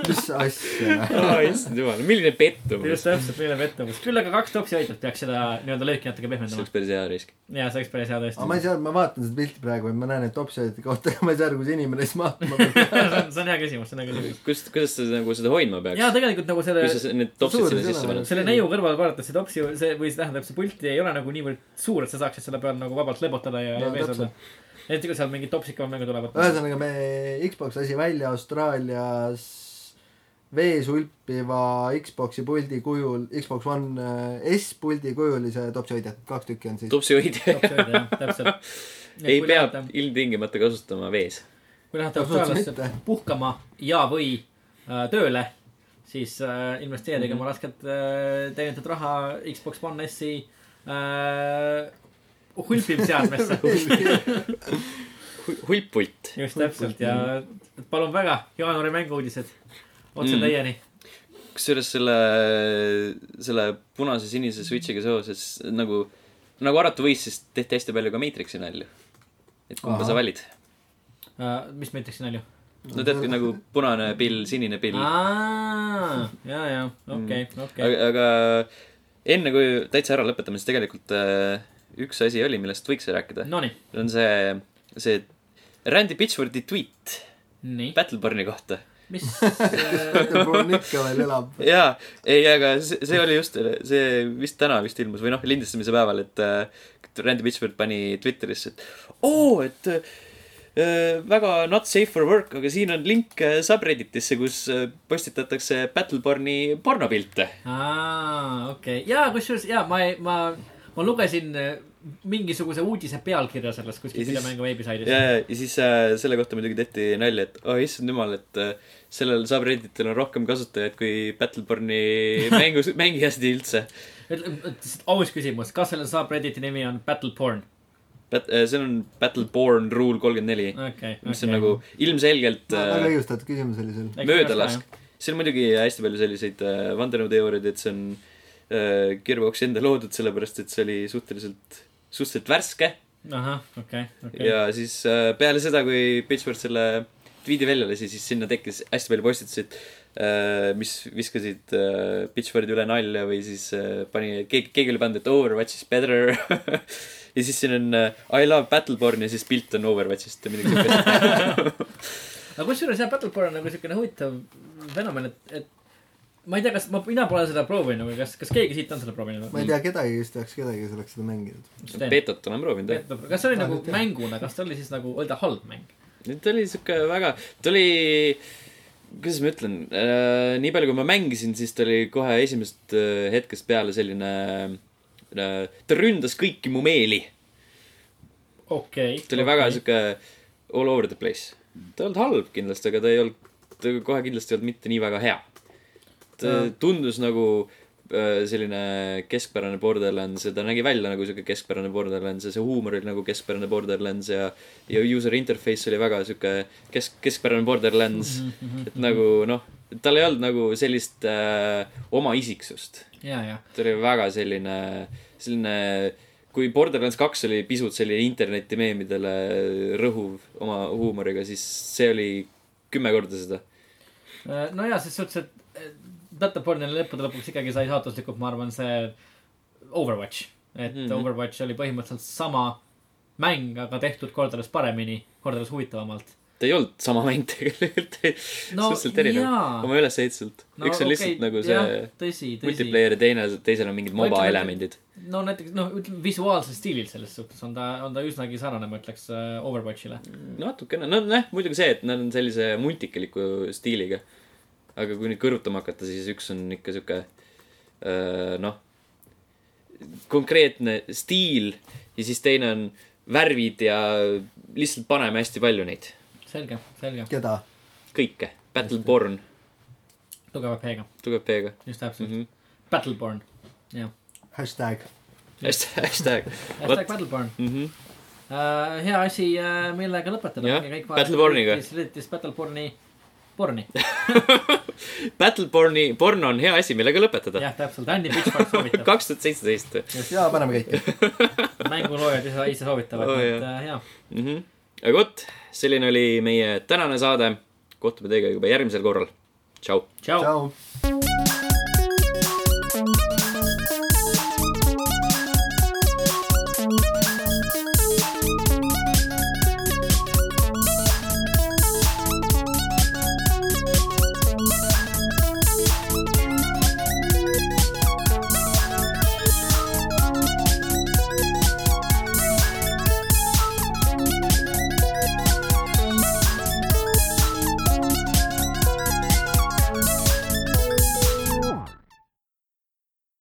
[SPEAKER 3] mis asja ?
[SPEAKER 1] issand jumal , milline pettumus .
[SPEAKER 2] just täpselt , meil on pettumus . küll aga kaks topsi hoidjat peaks seda nii-öelda lööki natuke
[SPEAKER 1] see
[SPEAKER 2] pehmendama
[SPEAKER 1] oleks . päris hea risk .
[SPEAKER 2] jaa , see oleks päris hea
[SPEAKER 3] aga ma
[SPEAKER 2] tõesti .
[SPEAKER 3] ei saa , ma vaatan seda pilti praegu ja ma näen , et topsijate kohta ja ma ei saa aru , kus inimene siis mahtuma peab .
[SPEAKER 2] (laughs) see on hea küsimus , see on hea küsimus .
[SPEAKER 1] kust , kuidas sa nagu seda hoidma
[SPEAKER 2] jaa ,
[SPEAKER 1] peaks ?
[SPEAKER 2] tegelikult nagu selle
[SPEAKER 1] kuidas sa need topsid
[SPEAKER 3] Suur
[SPEAKER 1] sinna
[SPEAKER 3] ei
[SPEAKER 1] sisse
[SPEAKER 3] ole
[SPEAKER 1] paned ?
[SPEAKER 2] selle neiu kõrval vaadates see topsi , see või see tähendab , see pult ei ole nagu niivõrd suur , et sa saaksid selle peal nagu vabalt lebotada ja
[SPEAKER 3] No,
[SPEAKER 2] no, vees olla
[SPEAKER 3] täpselt. .
[SPEAKER 2] eriti kui seal mingid topsikamad mängud olevat .
[SPEAKER 3] ühesõnaga , me Xbox lasi välja Austraalias vees ulpiva Xbox'i puldi kujul , Xbox One äh, S puldi kujulise topsihoidjad , kaks tükki on siis .
[SPEAKER 1] topsihoidja (laughs)
[SPEAKER 2] täpselt .
[SPEAKER 1] ei pea . ilmtingimata kasutama vees .
[SPEAKER 2] kui lähete
[SPEAKER 3] Absoluutselt
[SPEAKER 2] Austraaliasse
[SPEAKER 3] mitte.
[SPEAKER 2] puhkama ja , või äh, tööle , siis äh, investeerige
[SPEAKER 1] Mhm.
[SPEAKER 2] oma mm -hmm. raskelt äh, teenitud raha Xbox One S-i äh,
[SPEAKER 1] (laughs)
[SPEAKER 2] hulpivseadmesse .
[SPEAKER 1] hulpult .
[SPEAKER 2] just täpselt ja palun väga , jaanuari mänguuudised otse
[SPEAKER 1] Mm.
[SPEAKER 2] teieni .
[SPEAKER 1] kusjuures selle , selle punase-sinise switch'iga seoses nagu , nagu arvata võis , siis tehti hästi palju ka Matrixi nalju . et kumba
[SPEAKER 3] Ahah.
[SPEAKER 1] sa valid .
[SPEAKER 2] Äh, mis ma ütleksin nalju ?
[SPEAKER 1] no tead , kui nagu punane pill , sinine pill .
[SPEAKER 2] aa , ja , ja , okei , okei .
[SPEAKER 1] Mhm. aga , aga enne kui täitsa ära lõpetame , siis tegelikult äh, üks asi oli , millest võiks rääkida .
[SPEAKER 2] Nonii ,
[SPEAKER 1] on see , see Randy Pitchfordi tweet
[SPEAKER 2] nii ,
[SPEAKER 1] Battleborne'i kohta . (laughs)
[SPEAKER 2] mis äh,
[SPEAKER 3] Battleborn ikka veel elab .
[SPEAKER 1] jaa , ei , aga see , see oli just , see vist täna vist ilmus või noh , lindistamise päeval , et äh, Randy Pitchford pani Twitterisse , et oo , et äh, väga not safe for work , aga siin on link äh, subredditisse , kus äh, postitatakse Battleborne'i pornopilte .
[SPEAKER 2] aa , okei okay. , ja kusjuures ja ma , ma , ma lugesin äh, mingisuguse uudise pealkirja sellest
[SPEAKER 1] Ja
[SPEAKER 2] kuskil
[SPEAKER 1] siis-
[SPEAKER 2] videomängu veebisaidis
[SPEAKER 1] ja , ja , ja siis äh, selle kohta muidugi tehti nalja , et oh issand jumal , et äh, sellel subredditil on rohkem kasutajaid kui Battleborne'i mängus , mängijast üldse .
[SPEAKER 2] ütleme , lihtsalt aus küsimus , kas selle subredditi nimi on battle porn ?
[SPEAKER 1] Bat- , see on Battleborn rule kolmkümmend neli ,
[SPEAKER 2] okei ,
[SPEAKER 1] mis on nagu ilmselgelt
[SPEAKER 3] väga
[SPEAKER 1] äh,
[SPEAKER 3] õigustatud küsimus oli sul .
[SPEAKER 1] möödalask . siin on muidugi hästi palju selliseid äh, vandenõuteooriaid , et see on äh, Gearboxi enda loodud , sellepärast et see oli suhteliselt , suhteliselt värske
[SPEAKER 2] ahah , okei ,
[SPEAKER 1] okay.
[SPEAKER 2] okei .
[SPEAKER 1] ja siis äh, peale seda , kui Pitchford selle tweet'i välja lasi , siis sinna tekkis hästi palju postitusi , et äh, mis viskasid äh, Pitchfordi üle nalja või siis äh, pani , keegi , keegi oli pannud , et Overwatch is better . (laughs) ja siis siin on äh, I love Battleborn ja siis pilt on Overwatchist või midagi siukest .
[SPEAKER 2] aga kusjuures jah , battle porn on nagu siukene huvitav fenomen , et , et ma ei tea , kas ma , mina pole seda proovinud , aga kas , kas keegi siit on seda proovinud
[SPEAKER 3] ma ei tea kedagi , kes teaks kedagi , kes oleks seda mänginud .
[SPEAKER 2] või ?
[SPEAKER 1] Betot olen proovinud jah .
[SPEAKER 2] kas see oli
[SPEAKER 3] Ma
[SPEAKER 2] nagu
[SPEAKER 3] nüüd tean.
[SPEAKER 2] mänguna , kas ta oli siis nagu , oli ta halb mäng ?
[SPEAKER 1] ta oli siuke väga , ta oli , kuidas ma ütlen äh, , nii palju , kui ma mängisin , siis ta oli kohe esimesest äh, hetkest peale selline äh, , ta ründas kõiki mu meeli .
[SPEAKER 2] okei .
[SPEAKER 1] ta oli väga siuke all over the place . ta ei olnud halb kindlasti , aga ta ei olnud , ta kohe kindlasti ei olnud mitte nii väga hea . ta
[SPEAKER 2] Jah.
[SPEAKER 1] tundus nagu äh, selline keskpärane Borderlands ja ta nägi välja nagu siuke keskpärane Borderlands ja see huumor oli nagu keskpärane Borderlands ja ja user interface oli väga siuke kesk , keskpärane Borderlands
[SPEAKER 2] Mhm,
[SPEAKER 1] mm . -hmm. et nagu noh , tal ei olnud nagu sellist äh, oma isiksust
[SPEAKER 2] ja , ja ,
[SPEAKER 1] ta oli väga selline , selline , kui Borderlands kaks oli pisut selline interneti meemidele rõhuv oma huumoriga , siis see oli kümme korda seda .
[SPEAKER 2] Äh, no ja ses suhtes , et eh, Battle Bornile lõppude lõpuks ikkagi sai saatuslikult , ma arvan , see Overwatch . et mm
[SPEAKER 1] Mhm.
[SPEAKER 2] -hmm. Overwatch oli põhimõtteliselt sama mäng , aga tehtud kordades paremini , kordades huvitavamalt .
[SPEAKER 1] ta ei olnud sama mäng (laughs) tegelikult ,
[SPEAKER 2] No
[SPEAKER 1] suhteliselt erinev
[SPEAKER 2] jaa.
[SPEAKER 1] oma ülesehituselt no, . üks on okay, lihtsalt nagu see
[SPEAKER 2] jah,
[SPEAKER 1] jah,
[SPEAKER 2] tõsi , tõsi .
[SPEAKER 1] multiplayer ja teine , teisel on mingid
[SPEAKER 2] Ma
[SPEAKER 1] moba
[SPEAKER 2] ütlen, et-
[SPEAKER 1] elemendid .
[SPEAKER 2] no näiteks noh , ütleme visuaalses stiilis selles suhtes on ta , on ta üsnagi sarnane , ma ütleks eh, Overwatchile .
[SPEAKER 1] natukene , no nojah , muidugi see , et nad on sellise multikiliku stiiliga . aga kui nüüd kõrvutama hakata , siis üks on ikka sihuke öö, noh , konkreetne stiil ja siis teine on värvid ja lihtsalt paneme hästi palju neid ,
[SPEAKER 2] selge , selge ,
[SPEAKER 3] keda ?
[SPEAKER 1] kõike . Battleborn ,
[SPEAKER 2] tugeva P-ga ,
[SPEAKER 1] tugev P-ga
[SPEAKER 2] just täpselt
[SPEAKER 1] mm .
[SPEAKER 2] mm .
[SPEAKER 1] -hmm.
[SPEAKER 2] -hmm. Battleborn , jah .
[SPEAKER 3] hashtag .
[SPEAKER 1] hashtag , hashtag .
[SPEAKER 2] hashtag Battleborn .
[SPEAKER 1] mhm.
[SPEAKER 2] Äh, hea asi , millega lõpetada .
[SPEAKER 1] Jah, Battleborniga.
[SPEAKER 2] leidis Battleborni , porni .
[SPEAKER 1] Battleborni , porno on hea asi , millega lõpetada .
[SPEAKER 2] jah , täpselt , Andy Pitchford soovitab .
[SPEAKER 1] (laughs) kaks tuhat seitseteist .
[SPEAKER 3] jaa , paneme kõike .
[SPEAKER 2] mänguloojad ise , ise soovitavad
[SPEAKER 1] Oo,
[SPEAKER 2] oh, , et
[SPEAKER 1] jah.
[SPEAKER 2] äh, hea .
[SPEAKER 1] mhmh , Mhm. aga vot , selline oli meie tänane saade . kohtume teiega juba järgmisel korral . tšau .
[SPEAKER 2] tšau .
[SPEAKER 3] tšau .